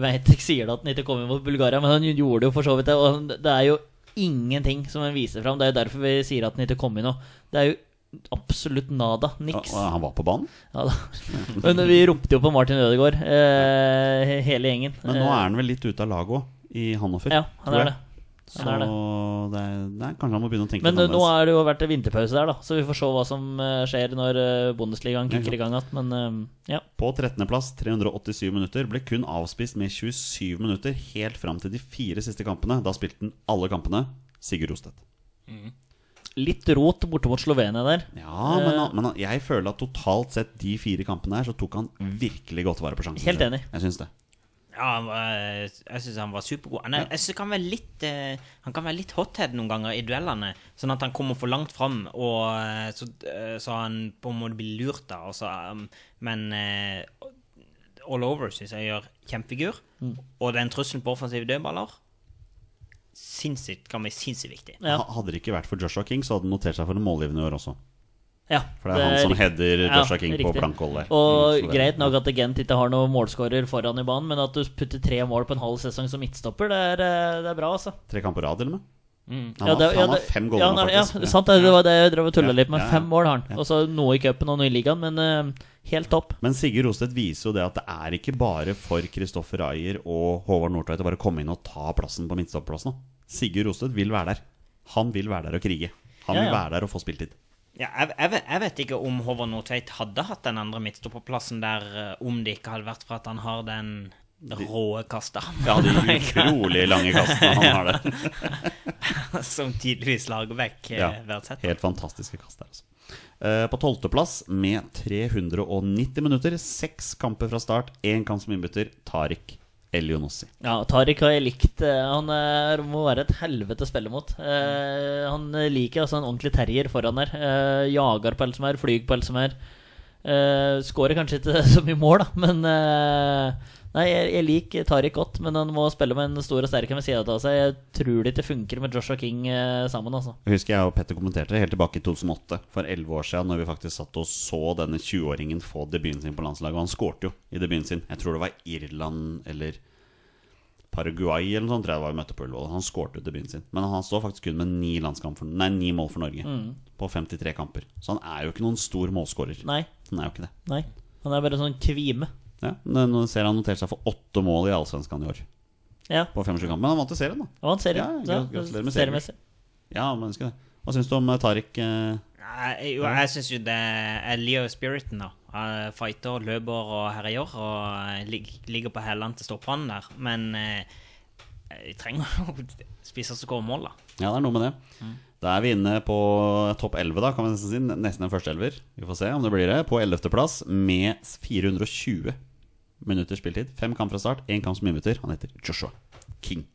S2: Veitek sier det at han ikke kom inn mot Bulgaria, men han gjorde det jo for så vidt det. Og han- det er jo ingenting som han viser fram. Det er jo derfor vi sier at han ikke kom inn nå. Det er jo absolutt nada.
S1: Og-
S2: Niks.
S1: og Han var på banen.
S2: Ja, da. Men vi ropte jo på Martin Ødegaard, eh, hele gjengen.
S1: Men nå er han vel litt ute av laget òg, i Hannover.
S2: Ja, han
S1: tror
S2: er
S1: jeg.
S2: det.
S1: Så
S2: Han er det.
S1: det er, nei, kanskje han må begynne å tenke
S2: Men
S1: litt
S2: eh, nå
S1: annerledes.
S2: har det jo vært en vinterpause der, da, så vi får se hva som eh, skjer når eh, Bundesligaen kicker i gang igjen. Men eh, ja.
S1: På 13.-plass, 387 minutter, ble kun avspist med 27 minutter helt fram til de fire siste kampene. Da spilte han alle kampene. Sigurd Rostedt.
S2: Litt rot borte mot Slovenia der.
S1: Ja, men, han- men han- jeg føler at totalt sett de fire kampene her, så tok han virkelig godt vare på sjansen.
S2: Helt
S1: sin.
S2: enig.
S1: Jeg synes det.
S3: Ja, han var, jeg syns han var supergod. Han, er, jeg synes han, kan være litt, eh, han kan være litt hothead noen ganger i duellene, sånn at han kommer for langt fram, og eh, så, eh, så han på en måte blir lurt, da. Og så, um, men eh, all over syns jeg gjør kjempefigur.
S1: Mm.
S3: Og den trusselen på offensive dødballer sinnssykt, kan bli sinnssykt viktig.
S2: Ja.
S1: Ha- Hadde det ikke vært for Joshua King, så hadde han notert seg for en målgivende i år også.
S2: Ja,
S1: For det er han som
S2: riktig.
S1: header Joshua
S2: Ja,
S1: King på
S2: riktig.
S1: plankhold der.
S2: Og
S1: Mm, så det-
S2: greit nok at Gent ikke har noen målskårer foran i banen, men at du putter tre mål på en halv sesong som midtstopper, det er, eh, det er bra, altså.
S1: Tre kamper på rad, eller noe? Han,
S2: Ja,
S1: har-
S2: det- ja,
S1: han har
S2: det-
S1: fem
S2: ja,
S1: goller
S2: han
S1: nå,
S2: har- ja,
S1: faktisk. Ja.
S2: sant, det det var det jeg drev og tulla
S1: Ja,
S2: litt med.
S1: ja, ja.
S2: Fem mål har han. Og så noe i cupen og noe i ligaen, men eh, helt topp.
S1: Men Sigurd Rostedt viser jo det at det er ikke bare for Kristoffer Ayer og Håvard Nordtveit å bare komme inn og ta plassen på midtstopplassen. da. Sigurd Rostedt vil være der. Han vil være der og krige. Han
S2: Ja,
S1: vil
S2: ja.
S1: være der og få spiltid.
S3: Ja, jeg, jeg, vet- jeg vet ikke om Håvard Nordtveit hadde hatt den andre midtstopperplassen der eh, om det ikke hadde vært for at han har den råe kastearmen.
S1: Ja, de utrolig lange kastene han har der.
S3: som tydeligvis lager vekk eh, ja. hvert sett.
S1: Helt fantastiske kast der, altså. Eh, På tolvteplass med 390 minutter, seks kamper fra start, én kamp som innbytter, Tariq Elionossi.
S2: Ja, Tariq har jeg likt. eh, Han er, må være et helvete å spille mot. Eh,
S1: Mm.
S2: han liker altså en ordentlig terrier foran der. Eh, jager på alt som er, flyr på alt som er. Eh, Skårer kanskje ikke så mye mål, da, men eh, Nei, jeg, jeg liker Tariq godt, men han må spille med en stor og sterk ved sida av seg. Jeg tror det ikke funker med Joshua King eh, sammen, altså.
S1: Jeg husker jeg og Petter kommenterte det helt tilbake i 2008, for 11 år siden, når vi faktisk satt og så denne 20-åringen få debuten sin på landslaget. Og han skårte jo i debuten sin. Jeg tror det var Irland eller Paraguay eller noe sånt. Tror jeg det var vi møtte på Ullevål. Han skårte jo debuten sin. Men han står faktisk kun med ni, landskamp for, nei, ni mål for Norge på 53 kamper. Så han er jo ikke noen stor målskårer.
S2: Nei.
S1: Han er jo ikke det.
S2: nei Han er bare en sånn kvime.
S1: Ja, men nå ser han notert seg for åtte mål i Allsvenskan i år.
S2: Ja,
S1: På 25 kamper. Men han vant i serien, da.
S2: og han ser
S1: Ja,
S2: ja,
S1: gra- gratulerer med
S2: seriemessig.
S1: Ja, men husker det. Hva syns du om eh, Tariq? eh,
S3: Nei, jo, jeg syns jo det er Leo Spiriten, da. Eh, Fighter, løper og herjer. Og eh, lig, ligger på hælene til stopperne der. Men eh, vi trenger jo spisser som skårer mål, da.
S1: Ja, det er noe med det.
S2: Mm.
S1: Da er vi inne på topp 11, da, kan vi nesten si. Nesten en førsteelver. Vi får se om det blir det. På 11.-plass med 420 minutter spiltid. Fem kamp fra start, én kamp som innbytter. Han heter Joshua King.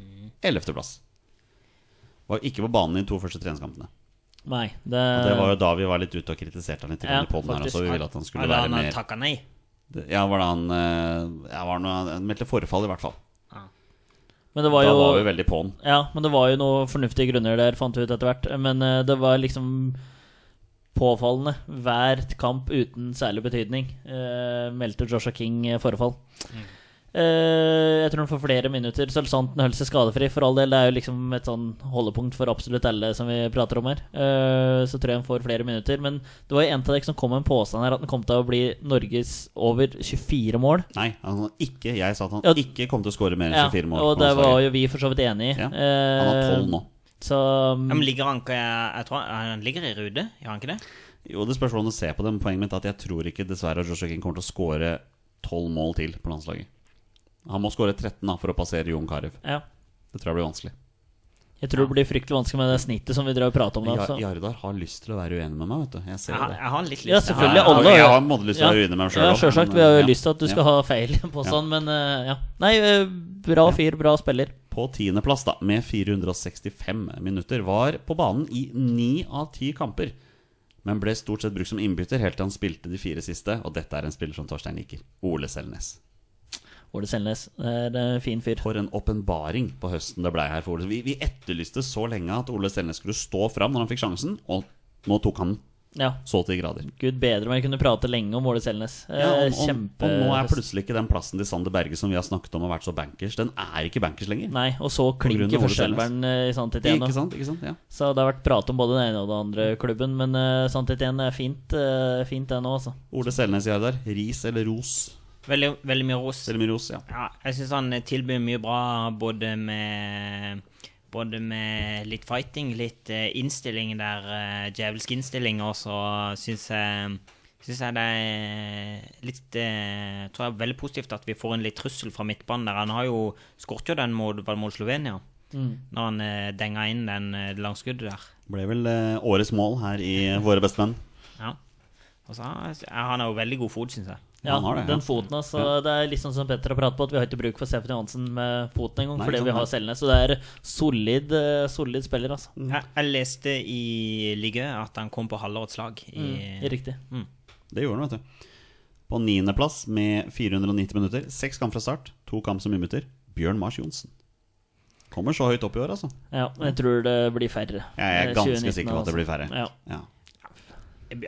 S2: Mm.
S1: 11.-plass. Var jo ikke på banen i de to første treningskampene.
S2: Eh. Nei, det,
S1: Og Det var jo da vi var litt ute og kritiserte han litt
S2: Ja,
S1: ja, på den her
S2: faktisk.
S1: også. Vi ville at han skulle
S3: Eller
S1: være
S3: han har
S1: mer
S3: takka nei.
S1: Ja, var det han eh, ja, var det noe, Han meldte forfall, i hvert fall.
S2: men det var
S1: Da
S2: jo
S1: var vi veldig på'n.
S2: Ja, men det var jo noen fornuftige grunner der, fant vi ut etter hvert. Men eh, det var liksom påfallende. Hver kamp uten særlig betydning eh, meldte Joshua King eh, forfall.
S1: Mm.
S2: Eh, jeg tror han får flere minutter. Så sant han holder seg skadefri, for all del. Det er jo liksom et sånn holdepunkt for absolutt alle som vi prater om her. Eh, så tror jeg han får flere minutter. Men det var jo en av dere som kom med en påstand her at han kom til å bli Norges over 24 mål.
S1: Nei, han ikke, jeg sa at han
S2: Ja,
S1: ikke kom til å skåre mer enn
S2: Ja,
S1: 24 mål.
S2: og
S1: på
S2: det var
S1: landslaget.
S2: jo vi for så vidt enig i.
S1: ja. Han har
S2: Eh,
S1: 12 nå.
S2: Så
S3: Ja, men ligger han, ikke- jeg tror han, han ligger i rute, gjør han ikke det?
S1: Jo, det spørs hvordan du ser på det, men poenget mitt er at jeg tror ikke dessverre at Joshua King kommer til å skåre tolv mål til på landslaget. Han må skåre 13 da, for å passere Jon Carew.
S2: Ja.
S1: Det tror jeg blir vanskelig.
S2: Jeg tror det blir fryktelig vanskelig med det snittet som vi drev og pratet om. altså. Da,
S1: Ja,
S2: så.
S1: Jardar har lyst til å være uenig med meg, vet du. Jeg ser
S3: Jeg, har-
S1: det.
S3: jeg har litt lyst.
S2: Ja,
S3: til-
S2: selvfølgelig.
S3: Jeg har-
S2: alle
S1: jeg har
S2: har-
S1: måtte lyst til å være uenig med meg sjøl.
S2: Ja, selvsagt. Vi har jo lyst til at du skal ha feil påstand, men eh, ja. Nei, eh, bra fyr, bra spiller.
S1: På tiendeplass, da, med 465 minutter, var på banen i ni av ti kamper. Men ble stort sett brukt som innbytter helt til han spilte de fire siste. Og dette er en spiller som Torstein liker. Ole Selnes.
S2: Ole Selnes. Det er en fin fyr.
S1: For en åpenbaring på høsten det blei her for Ole. Vi, vi etterlyste så lenge at Ole Selnes skulle stå fram når han fikk sjansen, og nå tok han den
S2: Ja.
S1: så til de grader.
S2: Gud bedre om jeg kunne prate lenge om Ole Selnes. Eh,
S1: Ja, og, og,
S2: Kjempe...
S1: og nå er plutselig ikke den plassen til Sander Berge som vi har snakket om har vært så bankers, den er ikke bankers lenger.
S2: Nei, og så
S1: grunn av
S2: klinker
S1: Ole
S2: førsteelveren eh, i sannhet igjen.
S1: Ikke sant? ikke sant? Ja.
S2: Så det har vært prat om både den ene og den andre klubben, men uh, sannhet igjen er fint, eh, fint det nå, altså.
S1: Ole Selnes Jardar, ris eller ros?
S3: Veldig, veldig mye ros.
S1: Eller mye ros, ja.
S3: Ja, jeg syns han tilbyr mye bra både med både med litt fighting, litt eh, innstilling der, eh, djevelsk innstilling, og så syns jeg Synes jeg det er litt eh, tror jeg er veldig positivt at vi får en litt trussel fra midtbanen der. Han har jo skåret jo den mot, var det mot Slovenia, når han eh, denga inn den eh, det langskuddet der.
S1: Ble vel eh, årets mål her i Våre bestemenn.
S3: Ja. Og så har- Han har jo veldig god fot, syns jeg.
S2: Ja,
S1: Han har det, ja.
S2: den foten, altså. Det er litt sånn som Petter har pratet på, at vi har ikke bruk for Stefan Johansen med foten engang,
S1: Nei,
S2: fordi
S1: ikke
S2: vi
S1: sant,
S2: har Selnes. Så det er solid, eh, solid spiller, altså.
S3: Jeg, jeg leste i Ligø at han kom på halvårets lag. I,
S2: Riktig.
S1: Det gjorde han, vet du. På niendeplass med 490 minutter. Seks kamp fra start, to kamp som innbytter. Bjørn Mars Johnsen. Kommer så høyt opp i år, altså.
S2: Ja, jeg tror det blir færre.
S1: Jeg er
S2: Eh,
S1: ganske
S2: 2019
S1: sikker på at det
S2: altså.
S1: blir færre.
S2: Ja.
S1: Ja.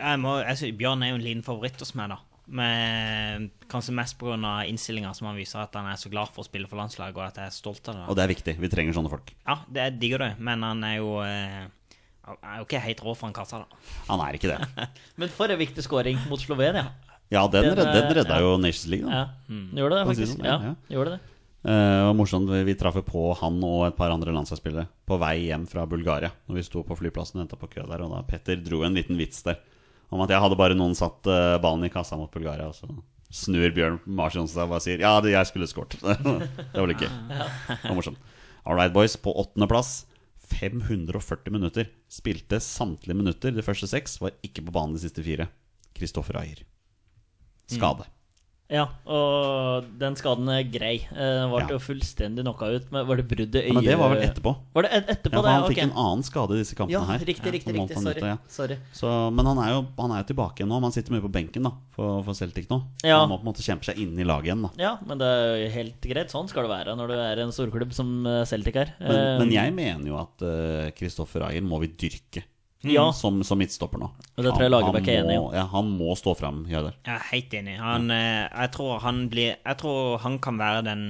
S3: jeg må, jeg, sy- Bjørn er jo en liten favoritt hos meg, da. Men kanskje mest pga. innstillinga som han viser at han er så glad for å spille for landslaget, og at jeg er stolt av
S1: Og
S3: det. da.
S1: det er viktig. Vi trenger sånne folk.
S3: Ja, det jeg digger det, men han er jo eh, han er jo ikke helt rå for en kassa, da.
S1: Han er ikke det.
S2: Men for en viktig scoring mot Slovenia.
S1: Ja, den,
S2: Den,
S1: redda, den
S2: eh,
S1: redda jo Nations League, da.
S2: Ja, gjorde det,
S1: Kan si
S2: faktisk.
S1: sånn, ja, ja.
S2: Ja, gjorde det.
S1: Eh, og morsomt, vi, vi traff jo på han og et par andre landslagsspillere på vei hjem fra Bulgaria. Når vi sto på flyplassen og venta på kø der, og da Petter dro en liten vits der. Om at jeg hadde bare noen satt eh, ballen i kassa mot Bulgaria, og så snur Bjørn Mars Johnsen seg og bare sier 'ja, det, jeg skulle skåret'. det var litt gøy. Det var morsomt. All right, boys. På åttendeplass, 540 minutter. Spilte samtlige minutter de første seks. Var ikke på banen de siste fire. Kristoffer Ayer. Skade.
S2: Ja, og den skaden er grei. Eh, Ble
S1: Ja.
S2: jo fullstendig knocka ut. Men var det brudd i øyet?
S1: Ja, men det var
S2: eh,
S1: vel etterpå.
S2: Var det et- etterpå,
S1: Ja, for
S2: det?
S1: han
S2: ja,
S1: fikk
S2: ok.
S1: en annen skade i disse kampene
S2: Ja,
S1: her.
S2: riktig, riktig,
S1: Han må
S2: riktig.
S1: på nytt,
S2: Sorry.
S1: ja.
S2: Sorry.
S1: Så, men han er, jo, han er jo tilbake igjen nå. men Han sitter mye på benken da for, for Celtic nå. Så
S2: Ja.
S1: Han må på en måte kjempe seg inn i laget igjen. da
S2: Ja, men det er jo helt greit. Sånn skal det være når du er en storklubb som eh, Celtic er.
S1: Men,
S2: Eh,
S1: men jeg mener jo at Kristoffer Ayer må vi dyrke
S2: Ja.
S1: som, som midtstopper nå.
S2: Og det tror jeg Lagerbäck er
S1: han
S2: enig i,
S1: må, ja, han må stå fram. Gjør det.
S3: Jeg er helt enig. Han, eh, jeg, tror han blir, jeg tror han kan være den,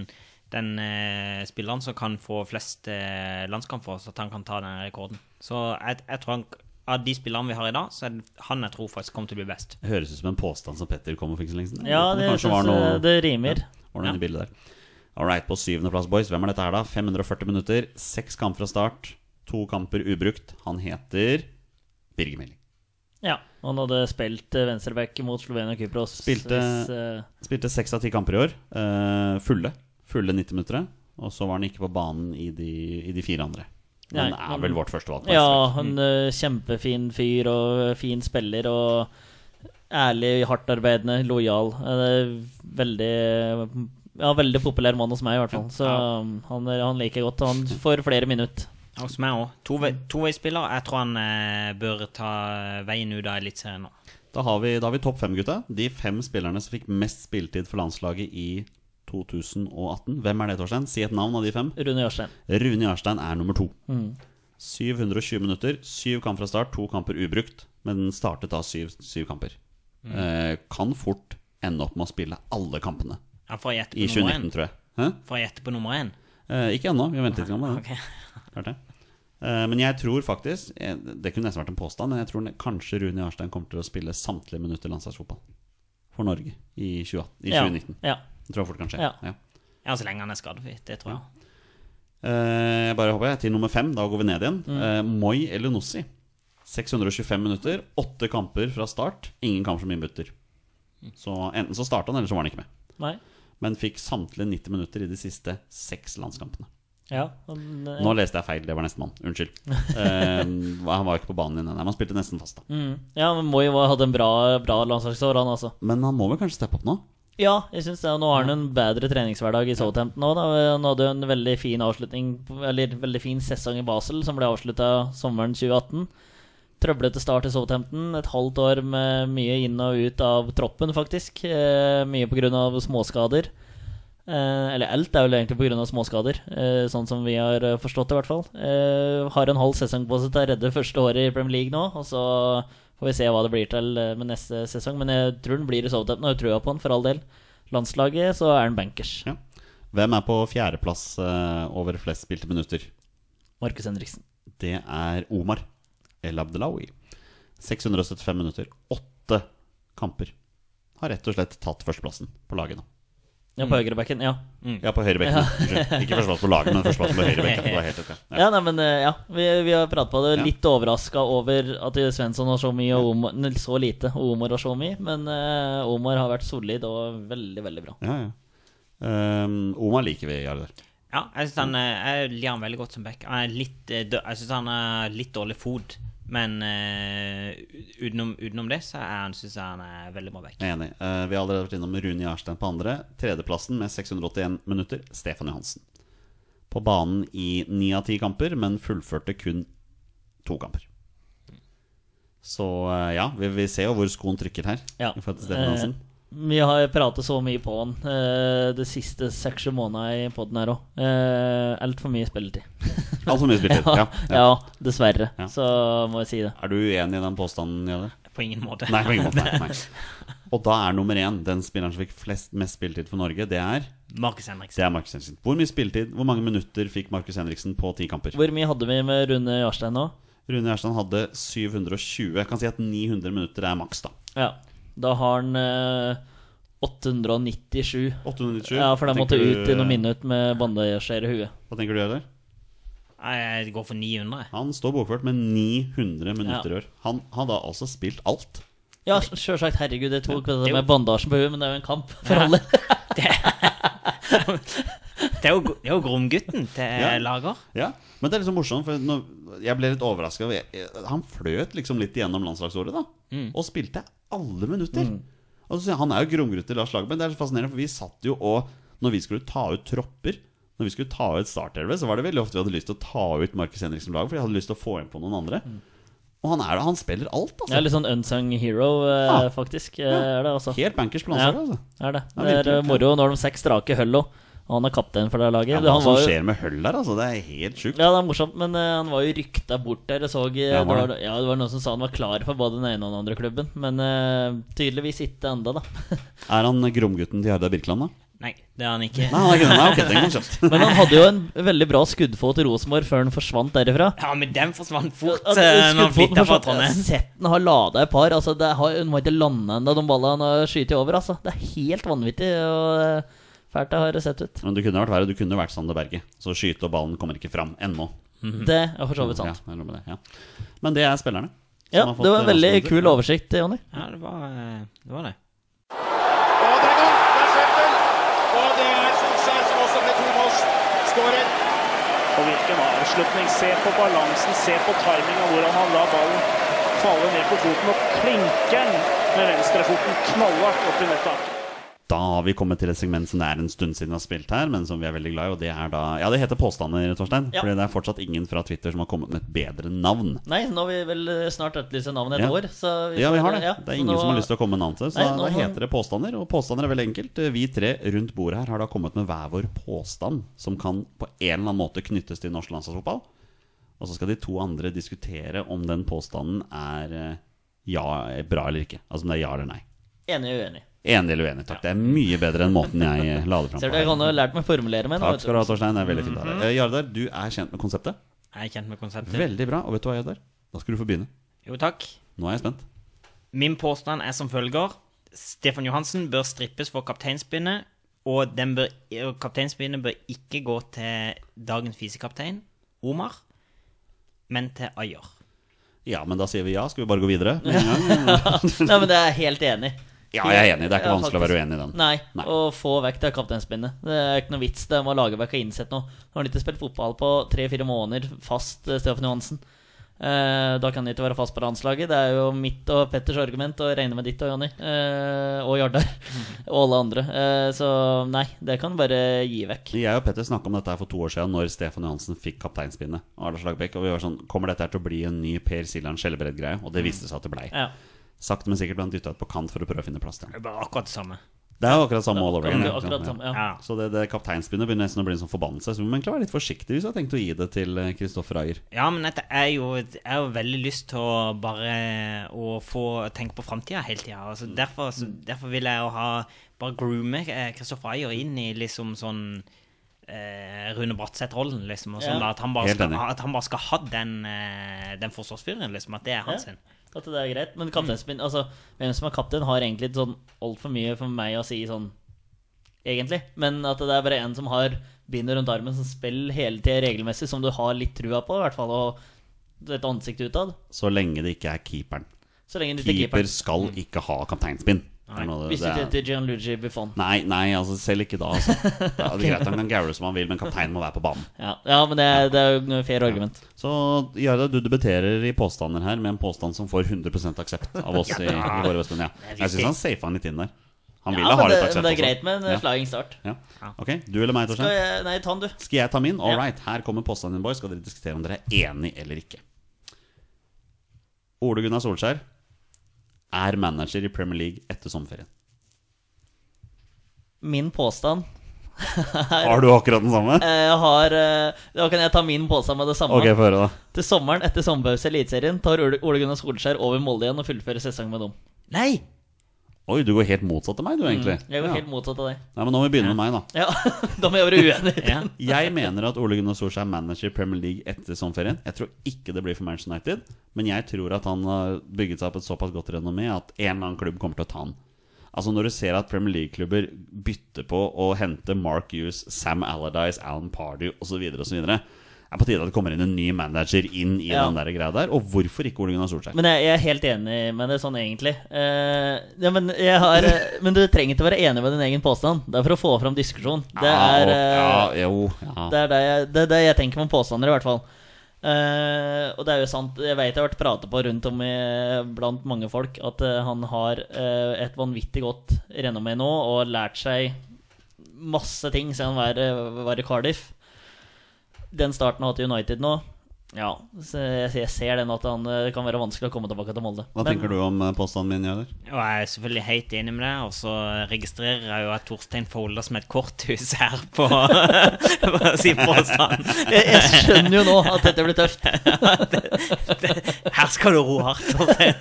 S3: den eh, spilleren som kan få flest eh, landskamper, så at han kan ta den rekorden. Så jeg, jeg tror han, av de spillerne vi har i dag, så er det han jeg tror faktisk kommer til å bli best.
S1: Høres ut som en påstand som Petter kom og fikk så lenge siden.
S2: ja, det,
S1: kanskje
S2: synes,
S1: var noe-
S2: eh, det rimer.
S1: Var det inne i bildet der. All right, på syvendeplass, boys. Hvem er dette her, da? 540 minutter, seks kamper fra start, to kamper ubrukt. Han heter Birger Meling.
S2: Ja. Han hadde spilt eh, venstreback mot Slovenia og Kypros.
S1: Spilte-
S2: hvis, eh,
S1: Spilte seks av ti kamper i år. eh, fulle. Fulle 90 minutter. Og så var han ikke på banen i de, i de fire andre.
S2: Nei,
S1: Den er
S2: han-
S1: vel vårt førstevalg. på
S2: Ja,
S1: Vestfjord.
S2: han eh, kjempefin fyr og eh, fin spiller og ærlig, hardtarbeidende, lojal. Eh, Veldig ja, veldig populær mann hos meg, i hvert fall. Så um, han, er- han liker jeg godt. Og han får flere minutter.
S3: Hos meg òg.
S1: Mm.
S3: Toveispiller. Jeg tror han eh, bør ta veien ut av Eliteserien nå.
S1: Da har vi, da har vi topp fem, gutta. De fem spillerne som fikk mest spilletid for landslaget i 2018. Hvem er det, Torstein? Si et navn av de fem.
S2: Rune Jarstein.
S1: Rune Jarstein er nummer to. 720 minutter, syv kamp fra start, to kamper ubrukt. Men den startet da syv, syv kamper. Eh, kan fort ende opp med å spille alle kampene
S3: Ja, for å gjette
S1: i
S3: på nummer én.
S1: 2019, tror jeg. Hæ?
S3: For å gjette på nummer én.
S1: Eh, ikke ennå, vi har ventet litt. Med det.
S3: Ok.
S1: Klart det. Eh, men jeg tror faktisk eh, Det kunne nesten vært en påstand, men jeg tror ne- kanskje Rune Jarstein kommer til å spille samtlige minutter landslagsfotball for Norge i, 2018, i
S2: Ja,
S1: 2019.
S2: Ja.
S1: Det tror jeg fort kan skje.
S2: Ja.
S1: Ja.
S3: Ja, så lenge han er skadefri. Det tror jeg.
S1: Eh, jeg bare håper jeg til nummer fem. Da går vi ned igjen.
S2: Mm.
S1: Eh, Moi eller Nossi. 625 minutter, åtte kamper fra start. Ingen kamp som innbytter. Så enten så starta han, eller så var han ikke med.
S2: Nei.
S1: men fikk samtlige 90 minutter i de siste seks landskampene.
S2: Ja, men, eh,
S1: Nå leste jeg feil, det var nestemann. Unnskyld. Eh, han var jo ikke på banen din ennå. Han spilte nesten fast, da.
S2: mm. ja, men Moi var- hadde en bra, bra landslagsår, han altså.
S1: Men han må vel kanskje steppe opp nå?
S2: Ja, jeg synes det. og Nå har han en bedre treningshverdag i Southampton òg, da. Han hadde jo en veldig fin avslutning Eller veldig fin sesong i Basel, som ble avslutta sommeren 2018. Trøblete start i Southampton. Et halvt år med mye inn og ut av troppen, faktisk. Eh, mye pga. småskader. Eh, eller alt er vel egentlig pga. småskader, eh, sånn som vi har eh, forstått det, i hvert fall. Eh, har en halv sesong på seg til å redde første året i Premier League nå, og så får vi se hva det blir til eh, med neste sesong. Men jeg tror den blir i Southampton, og jeg har trua på han, for all del. Landslaget, så er han bankers.
S1: Ja. Hvem er på fjerdeplass eh, over flest spilte minutter?
S2: Markus Henriksen.
S1: Det er Omar El Abdelawi. 675 minutter. Åtte kamper. Har rett og slett tatt førsteplassen på laget nå.
S2: Ja, på høyrebacken. Ja.
S1: Mm. Ja, på høyrebekken. Unnskyld. Ikke førsteplass på laget, men førsteplass på høyrebekken. Det var helt rett, ja.
S2: Ja, nei, men eh, ja, vi, vi har pratet på det.
S1: Ja.
S2: Litt overraska over at Svensson har så mye, og Omar, nei, så lite, og Omar har så mye. Men eh, Omar har vært solid og veldig, veldig bra.
S1: Ja, ja. Ehm, Omar liker vi, Jarle.
S3: Ja, jeg synes
S1: Mm.
S3: han eh, Jeg liker han veldig godt som back. Han er litt eh, dø- Jeg synes han er litt dårlig fot, men eh, u- utenom, utenom det så er han, synes jeg han er veldig bra back.
S1: Jeg er enig. Eh, vi har allerede vært innom Rune Jarstein på andre. Tredjeplassen med 681 minutter, Stefan Johansen. På banen i ni av ti kamper, men fullførte kun to kamper. Så eh, ja, vi, vi ser jo hvor skoen trykker her.
S2: Ja. Eh,
S1: I forhold til Stefan Johansen.
S2: Vi har pratet så mye på han eh, de siste seks-sju månedene i podden her òg. Eh, Altfor mye spilletid.
S1: Altfor mye spilletid.
S2: ja,
S1: ja. Ja.
S2: dessverre.
S1: Ja.
S2: Så må jeg si det.
S1: Er du uenig i den påstanden, Jarle?
S3: På ingen måte.
S1: Nei, på ingen måte. Nei, nei. Og da er nummer én den spilleren som fikk flest, mest spilletid for Norge, det er
S3: Markus
S1: Det
S3: Henriksen.
S1: er Markus Henriksen. Hvor mye spilletid, hvor mange minutter fikk Markus Henriksen på ti kamper?
S2: Hvor mye hadde vi med Rune Jarstein nå?
S1: Rune Gjerstein hadde 720. Jeg kan si at 900 minutter er maks, da.
S2: Ja, da har han eh, 897.
S1: 897.
S2: Ja, for
S1: Hva
S2: den måtte
S1: tenker
S2: ut
S1: du-
S2: i noen minutt med bandasjer i huet.
S1: Hva tenker du gjør der?
S3: Jeg går for 900.
S1: Han står bokført med 900 minutter i år. Han har da altså spilt alt.
S2: Ja, sjølsagt. Herregud, det tok det
S3: jo-
S2: med bandasjen på huet, men det er jo en kamp for alle.
S3: Det er jo, det er jo Gromgutten til
S1: Ja.
S3: Lager.
S1: Ja, Men det er liksom morsomt, for når, jeg ble litt overraska. Han fløt liksom litt gjennom landslagsåret, da.
S2: Mm.
S1: Og spilte alle minutter. Og så, sier jeg, han er jo grumgrut til Lars Lagerbäck. Det er så fascinerende, for vi satt jo og Når vi skulle ta ut tropper, når vi skulle ta ut startelve, så var det veldig ofte vi hadde lyst til å ta ut Markus Henriksen Lager, for jeg hadde lyst til å få inn på noen andre.
S2: Mm.
S1: Og han er det. Han spiller alt, altså.
S2: Det er litt sånn unsung hero, eh,
S1: Ah. Ja.
S2: faktisk. eh, Er det, altså.
S1: Helt bankers på landslaget, altså.
S2: Er det.
S1: Ja,
S2: det er eh,
S1: virkelig.
S2: moro. Nå har de seks strake hull òg, og han er kaptein for det laget.
S1: Ja,
S2: Det-
S1: hva
S2: han
S1: som
S2: var jo-
S1: skjer med Høll der, altså. Det er helt sjukt.
S2: Ja, det er morsomt, men eh, han var jo rykta bort der. Jeg så,
S1: Ja,
S2: eh, det,
S1: var
S2: var, ja, det var noen som sa han var klar for både den ene og den andre klubben, men eh, tydeligvis ikke enda da.
S1: Er han gromgutten til Jarda Birkeland, da?
S3: Nei, det er han ikke.
S1: Nei, han er ikke det. Nei, ok, den kom kjapt.
S2: Men han hadde jo en veldig bra skuddfot til Rosenborg før han forsvant derifra.
S3: Ja, men den forsvant fort
S2: At
S3: eh, når han
S2: skuddfoten
S3: flytta fra
S2: forsvant. Jeg
S3: Trondheim.
S2: har Sett den har lada et par. Altså, det har, hun må ikke lande ennå, de ballene han har skutt over. Altså. Det er helt vanvittig og eh, fælt det har sett ut.
S1: Men du kunne vært verre. Du kunne vært Sander Berge. Så skyte og ballen kommer ikke fram ennå.
S2: Det er for så vidt
S1: Mhm. Ja,
S2: sant.
S1: det er noe med det, ja. Men det er spillerne. som
S2: Ja,
S1: har fått eh,
S2: det var en veldig
S1: landslagsminutter.
S2: kul oversikt, Jonny.
S3: Ja, det var eh, det. Var det.
S6: Og der er gang, der er Schøffel. Og det er Solskjær som også ble tomålsskårer.
S7: Og hvilken avslutning. Se på balansen, se på timinga, hvordan han lar ballen falle ned på foten og klinker den med venstrefoten knallhardt opp i nettet.
S1: Da har vi kommet til et segment som det er en stund siden vi har spilt her, men som vi er veldig glad i, og det er da Ja, det heter påstander, Torstein.
S2: Ja.
S1: Fordi det er fortsatt ingen fra Twitter som har kommet med et bedre navn.
S2: Nei, nå har vi vel eh, snart etterlyst navnet et
S1: Ja.
S2: år. Så
S1: Ja, vi har det. Det er ingen som har lyst
S2: å
S1: til å komme med navn til det. Så
S2: Nei,
S1: da-
S2: nå
S1: da
S2: må-
S1: heter det påstander. Og påstander er veldig enkelt. Eh, Vi tre rundt bordet her har da kommet med hver vår påstand som kan på en eller annen måte knyttes til norsk landslagsfotball. Og så skal de to andre diskutere om den påstanden er eh, ja, bra eller ikke. Altså om det er ja eller nei.
S2: Enig og uenig.
S1: Enig eller uenig, takk. Det er mye bedre enn måten jeg la det fram på.
S2: Ser du,
S1: her.
S2: jeg kan Mhm. jo ha lært meg å formulere meg nå.
S1: Takk
S2: vet
S1: skal du ha, Torstein. Det er veldig fint av deg. Eh, Jardar, du er kjent med konseptet.
S3: Jeg er kjent med konseptet.
S1: Veldig bra. Og vet du hva, Jardar? Da skal du få begynne.
S3: Jo, takk.
S1: Nå er jeg spent.
S3: Min påstand er som følger. Stefan Johansen bør strippes for kapteinspinnet, og den bør, og kapteinspinnet bør ikke gå til dagens visekaptein, Omar, men til Ayer.
S1: Ja, men da sier vi ja. Skal vi bare gå videre? med en gang?
S2: Nei, men det er jeg helt enig. i.
S1: Ja, jeg er enig. Det er ikke
S2: Ja,
S1: vanskelig å være
S2: faktisk.
S1: uenig i den.
S2: Nei,
S1: Nei.
S2: å få vekk det kapteinspinnet. Det er ikke noe vits. Det må Lagerbäck ha innsett nå. Nå har han ikke spilt fotball på tre-fire måneder fast, eh, Stefan Johansen. Eh, da kan han ikke være fast på landslaget. Det er jo mitt og Petters argument, og jeg regner med ditt og Jonny. Eh, og Jardar. og alle andre. Eh, så nei, det kan du bare gi vekk.
S1: Jeg og Petter snakka om dette her for to år siden, når Stefan Johansen fikk kapteinspinnet. av Lars Lagerbäck, Og vi var sånn Kommer dette her til å bli en ny Per Siljan Skjelbred-greie? Og det viste det seg at det blei.
S2: Ja.
S1: Sakte, men sikkert ble han dytta ut på kant for å prøve å finne plass til ham.
S3: Det var akkurat det samme.
S1: Det er jo akkurat samme all over again.
S2: Akkurat- akkurat samme, ja.
S3: Ja.
S1: Så det, det kapteinspinnet begynner nesten å bli en sånn forbannelse. Så vi må egentlig være litt forsiktige hvis vi har tenkt å gi det til eh, Kristoffer Ayer.
S3: Ja, men dette er jo Jeg har jo veldig lyst til å bare å få tenke på framtida hele tida. Altså,
S2: Mm.
S3: derfor, så, derfor vil jeg jo ha bare groome eh, Kristoffer Ayer inn i liksom sånn eh, Rune Bratseth-rollen, liksom. Og sånn,
S2: Ja.
S3: da, at, han bare
S1: Helt
S3: skal,
S1: enig.
S3: ha- at han bare skal ha den, eh, den forsvarsfyren, liksom. At det er
S2: Ja,
S3: han sin.
S2: At det er greit. Men kapteinspinn Altså, hvem som er kaptein, har egentlig ikke sånn altfor mye for meg å si sånn Egentlig. Men at det er bare en som har bindet rundt armen, som spiller hele tida regelmessig, som du har litt trua på, i hvert fall, og et ansikt utad.
S1: Så lenge det ikke er keeperen.
S2: Så lenge du ikke er
S1: Keeper
S2: keeper.
S1: skal ikke ha kapteinspinn. Det er noe-
S2: Mm. Hvis du
S1: det
S2: ikke
S1: er-
S2: heter Gianluigi Buffon.
S1: Nei, nei, altså selv ikke da. Altså. Da er det greit, Han kan gaule som han vil, men kapteinen må være på banen.
S2: Ja, ja men det er, det er jo et fair argument.
S1: Så Jarda, du debuterer i påstander her med en påstand som får 100 aksept av oss. i, i våre Vestmenn, ja. Jeg syns han safa han litt inn der. Han ville
S2: Ja,
S1: ha
S2: men det,
S1: litt aksept.
S2: men det er
S1: også.
S2: greit med en
S1: Ja,
S2: flying start.
S1: ja. Ok, Du eller meg,
S2: Skal
S1: Torstein?
S2: jeg, nei, ta den, du.
S1: Skal jeg ta min? All
S2: Ja.
S1: right, her kommer påstanden din, boys. Skal dere diskutere om dere er enig eller ikke. Ole Gunnar Solskjær er manager i Premier League etter sommerferien.
S2: Min påstand
S1: Har du akkurat den samme?
S2: eh, har eh, Da kan jeg ta min påstand med det samme.
S1: Ok, få høre, da.
S2: Til sommeren etter sommerpause i Eliteserien tar Ole Ole Gunnar Solskjær over Molde igjen og fullfører sesongen med dem.
S3: Nei!
S1: Oi, du går helt motsatt av meg, du, egentlig.
S2: Mm, Jeg går
S1: Ja.
S2: helt motsatt av deg.
S1: Nei, men nå må vi begynne med meg, da.
S2: Ja, Da må jeg være uenig.
S3: Ja.
S1: Jeg mener at Ole Gunnar Solskjær er manager i Premier League etter sommerferien. Jeg tror ikke det blir for Manchester United, men jeg tror at han har bygget seg opp et såpass godt renommé at en eller annen klubb kommer til å ta han. Altså Når du ser at Premier League-klubber bytter på å hente Mark Hughes, Sam Allardyce, Alan Pardew osv., osv., er på tide at det kommer inn en ny manager inn i
S2: Ja.
S1: den der greia der. Og hvorfor ikke Ole Gunnar Solskjær?
S2: Men jeg, jeg er helt enig med det sånn, egentlig. Eh, ja, men, jeg har, eh, men du trenger ikke være enig med din egen påstand. Det er for å få fram diskusjon. Det er, eh,
S1: Ah, ja, jo, ja.
S2: det, er det, jeg, det er det jeg tenker med påstander, i hvert fall. Eh, og det er jo sant, jeg vet det har vært pratet på rundt om i, blant mange folk at eh, han har eh, et vanvittig godt renommé nå og lært seg masse ting siden han var, var i Cardiff. Den starten han har hatt i United nå Ja, så jeg, jeg ser den at han eh, kan være vanskelig å komme tilbake til Molde.
S1: Hva tenker du om eh, påstanden min, Jøder?
S3: Og jeg er selvfølgelig helt enig med deg. Og så registrerer jeg jo at Torstein folder som et korthus her på, på sin påstand.
S2: Jeg, jeg skjønner jo nå at dette blir tøft.
S3: Her skal du ro hardt. Torstein.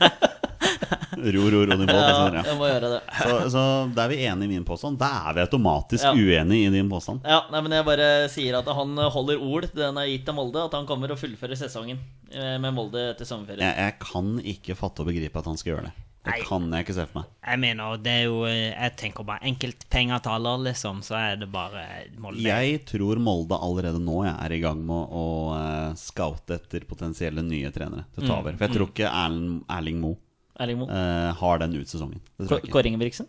S1: Ro, ro, ro din båt.
S2: Ja,
S1: sånn, ja.
S2: jeg må gjøre det.
S1: Så, så da er vi enige i min påstand. Da er vi automatisk
S2: Ja.
S1: uenige i din påstand.
S2: Ja, nei, men jeg bare sier at han holder ord til den er gitt til Molde, at han kommer og fullfører sesongen eh, med Molde etter sommerferien.
S1: Jeg, jeg kan ikke fatte og begripe at han skal gjøre det. Det
S3: Nei.
S1: kan jeg ikke se for meg.
S3: Jeg mener, det er jo eh, Jeg tenker bare enkeltpenger til alle, liksom. Så er det bare Molde.
S1: Jeg tror Molde allerede nå jeg er i gang med å eh, scoute etter potensielle nye trenere til å ta over. For jeg tror ikke Erling, Erling Moe
S2: Erling Moe.
S1: eh, har den ut sesongen. Det tror jeg ikke.
S2: Kåre Ingebrigtsen?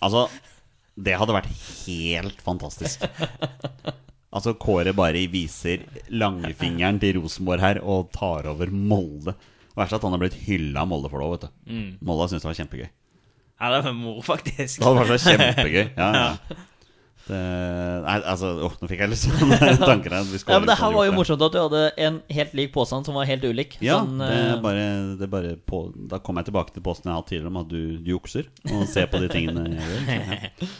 S1: Altså, det hadde vært helt fantastisk. Altså, Kåre bare viser langfingeren til Rosenborg her og tar over Molde. Verst at han har blitt hylla av Molde for det òg, vet du.
S2: Mm.
S1: Molde har syntes det var kjempegøy.
S3: Ja, det var moro, faktisk.
S1: Det hadde vært så kjempegøy. Ja, ja. Det, nei, altså, åh, nå fikk jeg litt sånn tanker her.
S2: Ja, men Det her var jo morsomt at du hadde en helt lik påstand som var helt ulik.
S1: Ja,
S2: Sånn,
S1: det
S2: eh,
S1: er bare, det er bare på, Da kommer jeg tilbake til posten jeg har hatt tidligere om at du jukser og ser på de tingene jeg gjør. Så, ja.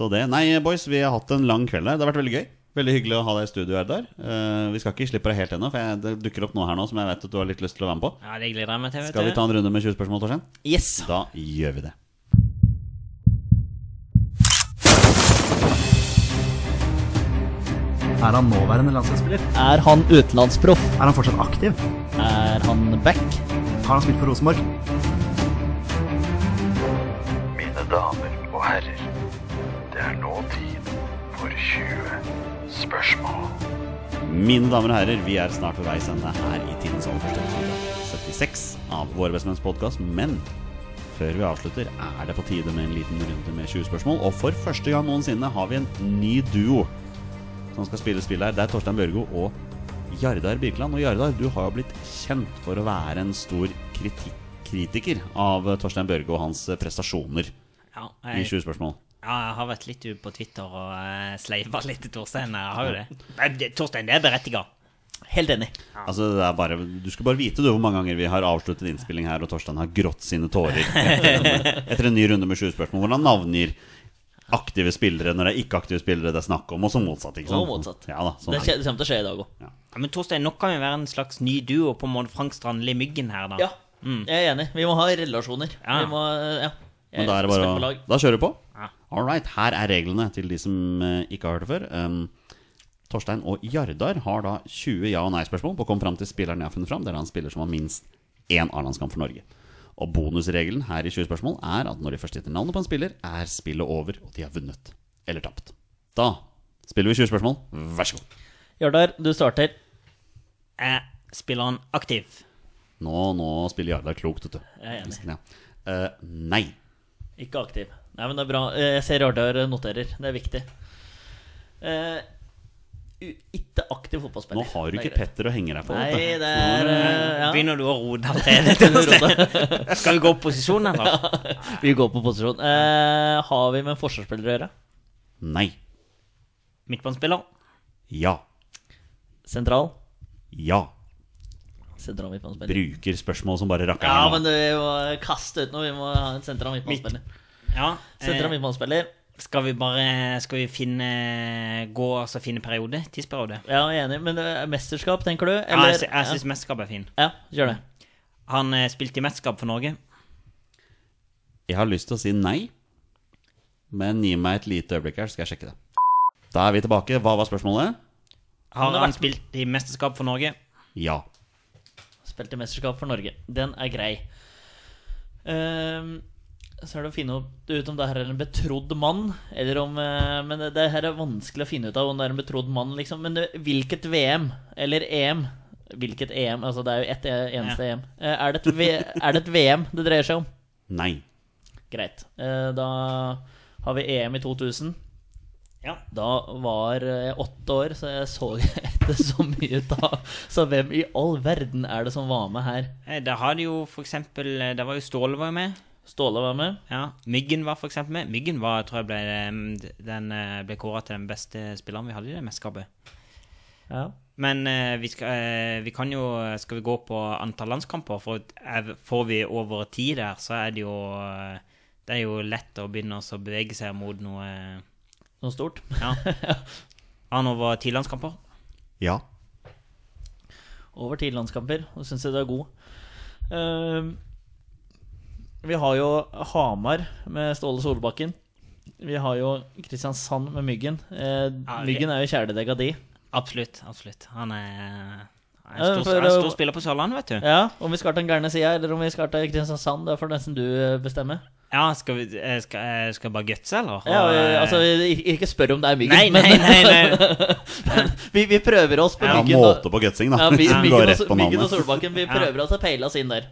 S1: så det. Nei, boys, vi har hatt en lang kveld her. Det har vært veldig gøy. Veldig hyggelig å ha deg i studio, Erdar. Eh, vi skal ikke slippe deg helt ennå, for jeg, det dukker opp noe her nå som jeg vet at du har litt lyst til å være med på.
S3: Ja, det gleder jeg meg til. vet
S1: Skal vi
S3: du.
S1: ta en runde med 20 spørsmål, Torstein?
S2: Yes!
S1: Da gjør vi det.
S8: Er han nåværende landslagsspiller?
S2: Er han utenlandsproff?
S8: Er han fortsatt aktiv?
S2: Er han back?
S8: Har han spilt for Rosenborg?
S9: Mine damer og herrer, det er nå tid for 20 spørsmål.
S1: Mine damer og herrer, vi er snart ved veis ende her i tidens aller første episode 76 av Våre bestemenns podkast. Men Før vi avslutter, er det på tide med en liten runde med 20 spørsmål. Og for første gang noensinne har vi en ny duo som skal spille spill her. Det er Torstein Børgo og Jardar Birkeland. Og Jardar, du har jo blitt kjent for å være en stor kriti- kritiker av Torstein Børgo og hans prestasjoner
S3: Ja,
S1: i
S3: jeg,
S1: 20 spørsmål.
S3: ja, jeg har vært litt ute på Twitter og uh, sleiva litt til Torstein. Jeg har jo det. Nei, det- Torstein, det er berettiga.
S2: Helt enig.
S1: Altså, det er bare, du skulle bare vite du hvor mange ganger vi har avsluttet innspilling her, og Torstein har grått sine tårer etter en, etter en ny runde med 20 spørsmål, hvor han navngir aktive spillere når det er ikke-aktive spillere det er snakk om, og så motsatt. ikke sant?
S2: Og motsatt.
S1: Ja da, sånn er
S2: Det
S1: det.
S2: skje- det kommer til å skje i dag òg.
S3: Ja, men Torstein, nå kan vi være en slags ny duo på en måte Frank Strandli Myggen her, da. Mm.
S2: Ja, jeg er enig. Vi må ha relasjoner.
S3: Ja.
S2: Vi må, eh, ja. Jeg
S1: Men da er det
S2: spent på
S1: bare å
S2: lag.
S1: Da kjører vi på.
S3: Ja.
S1: All right. Her er reglene til de som eh, ikke har hørt det før. Um, Torstein og Jardar har da 20 ja- og nei-spørsmål på å komme fram til spilleren jeg har funnet fram. Det er da en spiller som har minst én A-landskamp for Norge. Og bonusregelen her i 20 spørsmål er at når de først gjetter navnet på en spiller, er spillet over, og de har vunnet eller tapt. Da spiller vi 20 spørsmål. Vær så god.
S2: Jardar, du starter.
S3: Er spilleren aktiv?
S1: Nå, nå spiller Jardar klokt, vet du.
S2: Jeg er enig.
S1: Ja. Eh, nei.
S2: Ikke aktiv. Nei, men det er bra. Eh, Jeg ser Jardar noterer. Det er viktig. Eh, u- ikke aktiv fotballspiller.
S1: Nå har du
S2: Det er
S1: ikke
S2: greit.
S1: Petter å henge deg på. vet du.
S2: Nei, det er eh, ja.
S3: Begynner du å rote allerede? Torstein? Skal vi gå på posisjon, eller?
S2: Vi går på posisjon. Eh, har vi med en forsvarsspiller å gjøre?
S1: Nei.
S3: Midtbanespiller?
S1: Ja.
S2: Sentral?
S1: Ja.
S2: Sentral midtbanespiller.
S1: bruker spørsmål som bare rakker
S2: Ja,
S1: her nå.
S2: men du, vi må kaste ut noe. Vi må ha en sentral midtbanespiller.
S3: Ja.
S2: Sentral
S3: Eh,
S2: midtbanespiller.
S3: skal vi bare Skal vi finne Gå, altså finne periode? Tidsperiode?
S2: Ja, jeg er enig. Men eh, mesterskap, tenker du?
S3: Ja, jeg,
S2: Eller?
S3: sy- jeg syns mesterskap er fin.
S2: Ja, gjør det.
S3: Han eh, spilte i mesterskap for Norge.
S1: Jeg har lyst til å si nei, men gi meg et lite øyeblikk her, så skal jeg sjekke det. Da er vi tilbake. Hva var spørsmålet?
S3: Har
S2: har
S3: han
S2: vært-
S3: spilt i mesterskap for Norge?
S1: Ja.
S2: Spilte mesterskap for Norge. Den er grei. Ehm, så er det å finne opp- ut om det her er en betrodd mann, eller om eh, Men det, det her er vanskelig å finne ut av om det er en betrodd mann, liksom. Men det, hvilket VM, eller EM Hvilket EM? Altså, det er jo ett eneste EM. Eh, er, det et v, er det et VM det dreier seg om?
S1: Nei.
S2: Greit. Eh, da har vi EM i 2000.
S3: Ja.
S2: Da var jeg åtte år, så jeg så ikke så mye ut da. Så hvem i all verden er det som var med her?
S3: Eh, Der har de jo for eksempel eh, Der var jo Ståle var jo med.
S2: Ståle var med.
S3: Ja, Myggen var for eksempel med. Myggen var, tror jeg ble, eh, den eh, ble kåra til den beste spilleren vi hadde i det mesterskapet.
S2: Ja.
S3: Men eh, vi, skal, eh, vi kan jo Skal vi gå på antall landskamper? For er, får vi over ti der, så er det jo eh, Det er jo lett å begynne å bevege seg mot noe eh,
S2: Noe Sånn stort.
S3: Ja. Har han over ti landskamper?
S1: Ja.
S2: Over ti landskamper. Og syns jeg du er god. Ehm, vi har jo Hamar med Ståle Solbakken. Vi har jo Kristiansand med Myggen. Eh,
S3: Ja, vi-
S2: myggen er jo kjæledegga di.
S3: Absolutt. absolutt Han er, er
S2: Ja,
S3: en stor,
S2: for
S3: er en
S2: å-
S3: stor spiller på Sørlandet, vet du.
S2: Ja, Om vi skal til den gærne sida, eller om vi skal til Kristiansand, det får nesten du eh, bestemme.
S3: Ja, skal vi eh, skal, eh, skal jeg bare gutse, eller?
S2: Ja,
S3: Og,
S2: eh,
S3: eh,
S2: altså, ikke ikke spør om det er
S3: Nei,
S2: Myggen,
S3: nei,
S2: men
S3: nei. nei.
S2: vi, vi prøver oss på
S1: Ja,
S2: Myggen. og-
S1: måte på gutsing, da.
S2: Ja, vi, altså-
S1: Du
S2: myggen,
S1: går
S2: og,
S1: rett på
S2: myggen og
S1: navnet.
S2: Solbakken, vi prøver oss å peile oss inn der.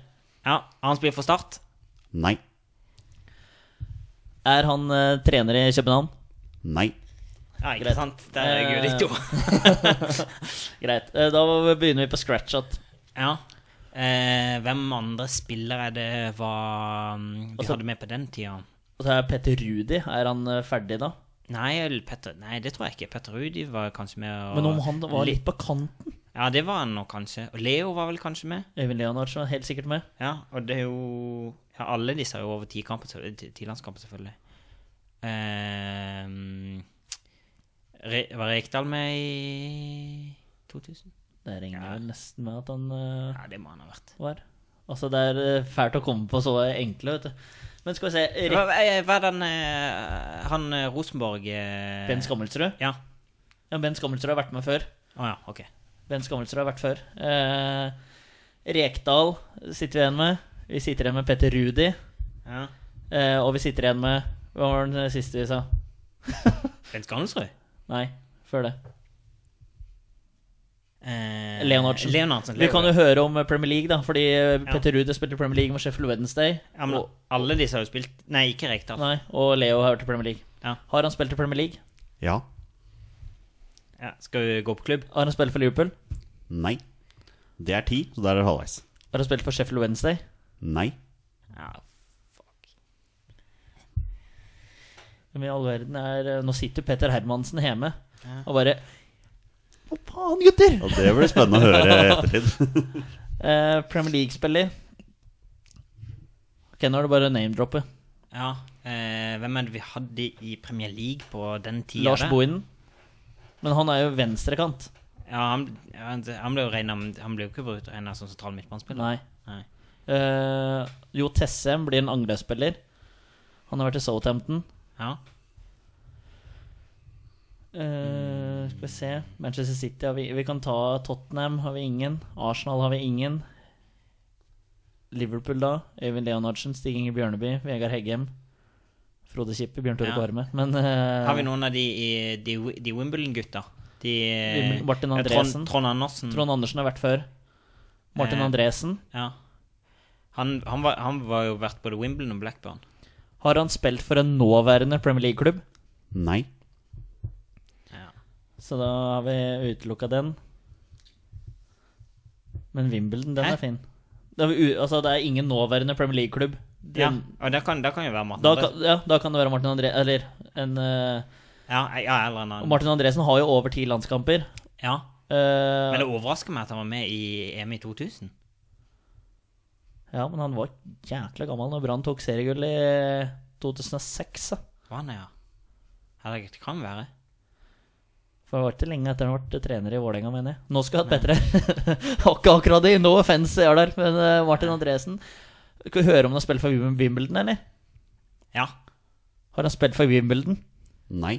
S3: Ja, Har han spilt for Start?
S1: Nei.
S2: Er han eh, trener i København?
S1: Nei.
S3: Ja, ikke
S2: Greit.
S3: sant? Der er jeg jo
S2: Eh,
S3: litt jo.
S2: Greit. eh, Da begynner vi på scratch. At,
S3: Ja. Eh, hvem andre spillere er det var mm, vi
S2: Altså-
S3: hadde med på den tida?
S2: og så er Petter Rudi er han eh, ferdig da?
S3: Nei, eller Petter, nei, det tror jeg ikke. Petter Rudi var kanskje med. Og,
S2: Men om han var litt på kanten
S3: Ja, det var han nok kanskje. Og Leo var vel kanskje med.
S2: Øyvind Leonardsen var helt sikkert med.
S3: Ja, og det er jo ja, Alle disse er jo over ti kamper, selv- ti- ti landskamper, selvfølgelig. Eh, Re, var Rekdal med i 2000?
S2: Det regner vel nesten med at han eh,
S3: Ja, det må han ha vært.
S2: var. Altså, det er eh, fælt å komme på så enkle, vet du. Men skal vi se
S3: Hva,
S2: Rek-
S3: eh, hva er den eh, Han eh, Rosenborg eh,
S2: Ben Skammelsrud?
S3: Ja.
S2: Ja, Ben Skammelsrud har vært med før.
S3: Å ja, ok.
S2: Ben Skammelsrud har vært før. Eh, Rekdal sitter vi igjen med. Vi sitter igjen med Petter Rudi.
S3: Ja.
S2: Eh, og vi sitter igjen med Hva var den siste vi sa?
S3: Ben Skammelsrud?
S2: Nei, før det.
S3: eh,
S2: Leonardsen.
S3: Leonardsen.
S2: Vi kan jo høre om eh, Premier League, da. Fordi eh, Petter Rude spilte i Premier League med Sheffield Wednesday.
S3: ja, men, Alle disse har jo spilt Nei, ikke Rekdal.
S2: Nei, og Leo har vært i Premier League.
S3: Ja.
S2: Har han spilt i Premier League?
S1: Ja.
S3: Ja, skal vi gå på klubb?
S2: Har han spilt for Liverpool?
S1: Nei. Det er ti, så der er det halvveis.
S2: Har han spilt for Sheffield Wednesday?
S1: Nei.
S3: Ja,
S2: Hvem i all verden er eh, Nå sitter Petter Hermansen hjemme og bare Hva faen,
S1: Og
S2: gutter?
S1: det blir spennende å høre i ettertid.
S2: Eh, Premier League-spiller. Ok, nå er det bare name-droppet.
S3: ja. Eh, hvem er det vi hadde i Premier League på den tida?
S2: Lars
S3: der?
S2: Bohinen. Men han er jo venstrekant.
S3: Ja, han, han, han ble jo regnet- han ble jo ikke brukt regna som sentral midtbanespiller.
S2: Nei.
S3: Nei.
S2: Eh, jo Tessem blir en angrepsspiller. Han har vært i Southampton.
S3: Ja.
S2: Eh, skal vi se Manchester City har vi Vi kan ta Tottenham, har vi ingen. Arsenal har vi ingen. Liverpool, da. Øyvind Leonardsen, Stig Inge Bjørneby, Vegard Heggem. Frode Kippe, Bjørn Tore
S3: Ja.
S2: Kvarme. Men eh,
S3: Har vi noen av de, i- de, Wi- de Wimbledon-gutta? De eh,
S2: Wimbledon- Martin
S3: eh,
S2: Andresen.
S3: Trond, Trond Andersen.
S2: Trond Andersen har vært før. Martin
S3: Eh.
S2: Andresen.
S3: Ja. Han, han, var, han var jo vært både Wimbledon og Blackburn.
S2: Har han spilt for en nåværende Premier League-klubb?
S1: Nei.
S3: Ja.
S2: Så da har vi utelukka den. Men Wimbledon, den
S3: Hæ?
S2: er fin. Det er, vi u altså, det er ingen nåværende Premier League-klubb.
S3: Ja,
S2: Den-
S3: og det kan, det kan jo være Martin
S2: Da
S3: Andresen.
S2: kan, ja, da kan det være Martin André Eller en eh,
S3: Ja, ja, eller en annen.
S2: Martin Andresen har jo over ti landskamper.
S3: Ja.
S2: Eh,
S3: Men det overrasker meg at han var med i EM i 2000.
S2: ja, men han var jækla gammel da Brann tok seriegull i 2006. Da.
S3: Var han det, ja? Herregud, det kan være.
S2: For det var ikke lenge etter han ble trener i Vålerenga, mener jeg. Nå skal jeg ha hatt Petter her. Har Ikke akkurat det, no offense, jeg er der. Men eh, Martin Andresen Skal vi høre om han har spilt for Wim- Wimbledon, eller?
S3: Ja.
S2: Har han spilt for Wimbledon?
S1: Nei.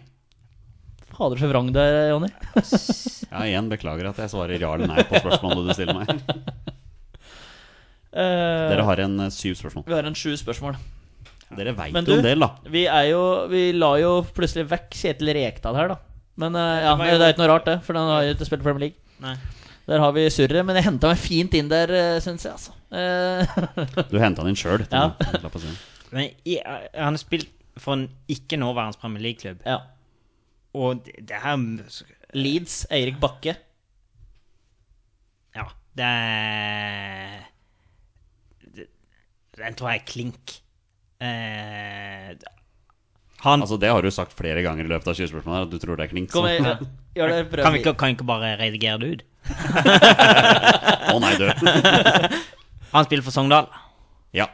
S2: Fader så vrang du er, Jonny.
S1: Ja, igjen beklager at jeg svarer ja eller nei på spørsmålet du stiller meg.
S2: Eh,
S1: Dere har en eh, syv spørsmål.
S2: vi har en sju spørsmål.
S1: Dere veit
S2: Men
S1: jo
S2: du-
S1: en del, da.
S2: Vi er jo Vi la jo plutselig vekk Kjetil Rekdal her, da. Men eh, ja,
S3: var
S2: det,
S3: jo-
S2: er ikke noe rart, det. For han har jo ikke spilt Premier League.
S3: Nei.
S2: Der har vi surret, men jeg henta meg fint inn der, eh, syns jeg, altså. Eh,
S1: Du henta den inn sjøl.
S2: Ja.
S3: Men i, eh, han har spilt for en ikke-nåværende Premier League-klubb,
S2: ja.
S3: og det, det her
S2: Leeds, Eirik Bakke.
S3: Ja, det er det- Den tror jeg er klink. Eh, han
S1: Altså, det har du sagt flere ganger i løpet av 20 spørsmål her, at du tror det er klink. så-
S2: Kom igjen, gjør det. Prøv.
S3: Sånn. kan, vi ikke, kan vi ikke bare redigere det ut?
S1: Å nei, du.
S3: Han spiller for Sogndal.
S1: Ja.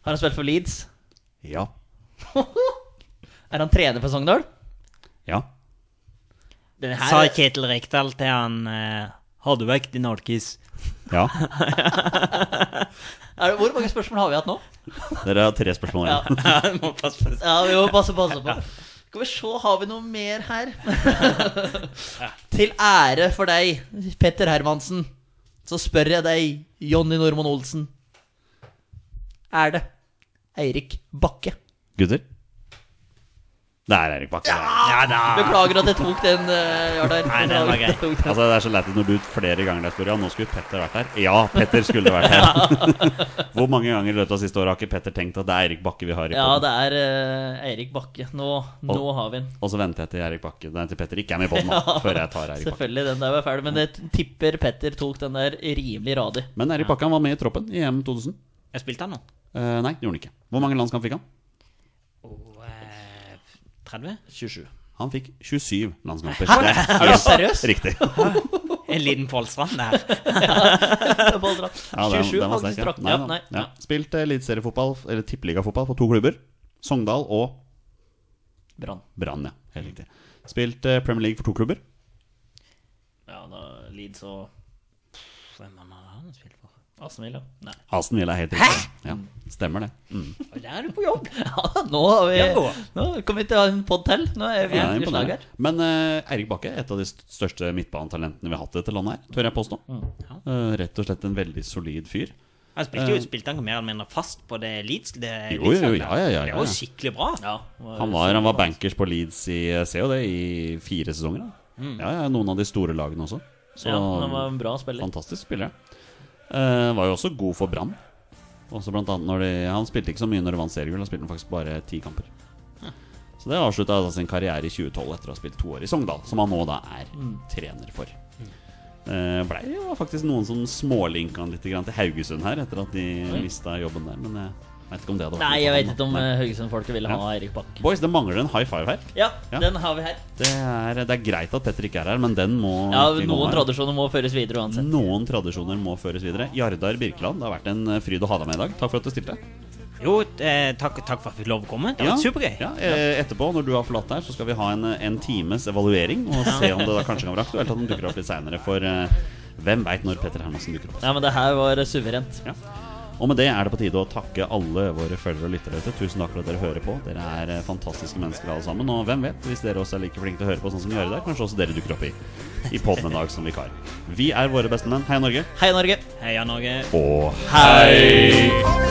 S2: Har han spilt for Leeds?
S1: Ja.
S2: Er han trener for Sogndal?
S1: Ja.
S2: Den her-
S3: Sa Kjetil Rekdal til han eh, Har du vekk din orkis?
S1: Ja.
S2: er, det- hvor mange spørsmål har vi hatt nå?
S1: Dere har tre spørsmål igjen.
S3: Ja, det må passe på det.
S2: Ja, vi må passe, passe på. Skal vi se, har vi noe mer her? Til ære for deg, Petter Hermansen, så spør jeg deg, Jonny Normann Olsen. Er det Eirik Bakke?
S1: Gutter? Det er Erik Bakke.
S3: Ja da.
S1: Ah.
S2: Beklager at jeg tok den, eh, Jardar.
S3: Nei, den var
S2: Beklager at jeg tok den.
S1: Altså, det er så leit når du flere ganger der spør Ja, nå skulle Petter vært her. Ja, Petter skulle vært her. Hvor mange ganger i løpet av siste året har ikke Petter tenkt at det er Erik Bakke vi har i
S2: Ja,
S1: podden?
S2: det er eh, Eirik Bakke. Nå, nå har vi den.
S1: Og så venter jeg til Erik Bakke Nei, til Petter ikke er med i podden da, før jeg tar Erik Bakke.
S2: Selvfølgelig, den der var ferdig. Men jeg tipper Petter tok den der rimelig radig.
S1: Men Erik Bakke han var med i troppen i EM 2000.
S3: Jeg spilte han nå.
S1: Eh, nei, det gjorde han ikke. Hvor mange landskamp fikk han?
S3: Og, eh, 30?
S2: 27.
S1: Han fikk 27 landskamper. Det er helt
S2: seriøs?
S1: Riktig.
S3: En liten Pålstrand der.
S2: Ja, den- den var sterk, ja. faktisk.
S1: Nei,
S2: Ja,
S1: da.
S2: nei.
S1: Ja. Spilt eh, eliteseriefotball, eller tippeligafotball, for to klubber. Sogndal og
S2: Brann.
S1: Brann, ja. Helt riktig. Spilt eh, Premier League for to klubber.
S2: Ja, da Leeds og
S3: Hvem han hadde han spilt for?
S2: Aston Villa. Nei.
S1: Aston Villa er helt riktig. Ja, stemmer det. Mm.
S3: Og der er du på jobb!
S2: Ja, nå har vi
S3: Ja, nå.
S2: Nå kommer vi til å ha en pod til. Nå er vi
S1: Ja, det er
S2: i slag
S1: imponerende.
S2: her.
S1: Men eh, Eirik Bakke, et av de st- største midtbanetalentene vi har hatt i dette landet her, tør jeg påstå.
S2: Mm,
S1: Eh, rett og slett en veldig solid fyr.
S3: Han spilte jo spilte han mer eller mindre fast på det Leeds. Det,
S1: Jo,
S3: Leeds-
S1: jo, ja, ja, ja,
S3: Det
S1: ja,
S3: var jo
S1: ja.
S3: skikkelig bra.
S1: Han var, han var bankers på Leeds i eh, ser jo det, i fire sesonger. Da. Ja, ja, noen av de store lagene også. Så
S2: Mm. ja, han var en bra spiller.
S1: fantastisk spiller. Eh, var jo også god for Brann. Også blant annet når de, Han spilte ikke så mye når de vant seriegull, han spilte faktisk bare ti kamper. Så det avslutta da sin karriere i 2012 etter å ha spilt to år i Sogndal, som han nå da er
S2: Mm.
S1: trener for. Eh, Blei det var faktisk noen som smålinka han litt grann til Haugesund her, etter at de mista jobben der, men jeg veit ikke om det hadde vært noe
S2: Nei, jeg
S1: for
S2: vet
S1: han,
S2: ikke om
S1: da.
S2: eh, Haugesund-folket ville ha
S1: Ja.
S2: Eirik Bakke.
S1: Boys, det mangler en high five her.
S2: Ja,
S1: Ja.
S2: den har vi her.
S1: Det er, det er greit at Petter ikke er her, men den må
S2: Ja,
S1: ikke gå
S2: Noen
S1: her.
S2: tradisjoner må føres videre uansett.
S1: Noen tradisjoner må føres videre. Jardar Birkeland, det har vært en eh, fryd å ha deg med i dag. Takk for at du stilte.
S3: Jo, eh, takk, takk for at vi fikk lov å komme. Det var supergøy.
S1: Ja, eh, etterpå, når du har forlatt her, så skal vi ha en, eh, en times evaluering og se om det da kanskje kan være aktuelt at den dukker opp litt seinere, for eh, hvem veit når Petter Hermansen dukker opp.
S2: Ja, men det her var suverent.
S1: Ja. Og med det er det på tide å takke alle våre følgere og lyttere ute. Tusen takk for at dere hører på. Dere er eh, fantastiske mennesker alle sammen. Og hvem vet, hvis dere også er like flinke til å høre på sånn som vi gjør i dag, kanskje også dere dukker opp i, i podden en dag som vikar. Vi er våre beste menn. Hei, Norge.
S2: Hei, Norge.
S3: Heia Norge.
S1: Og
S2: Hei!
S10: Hei!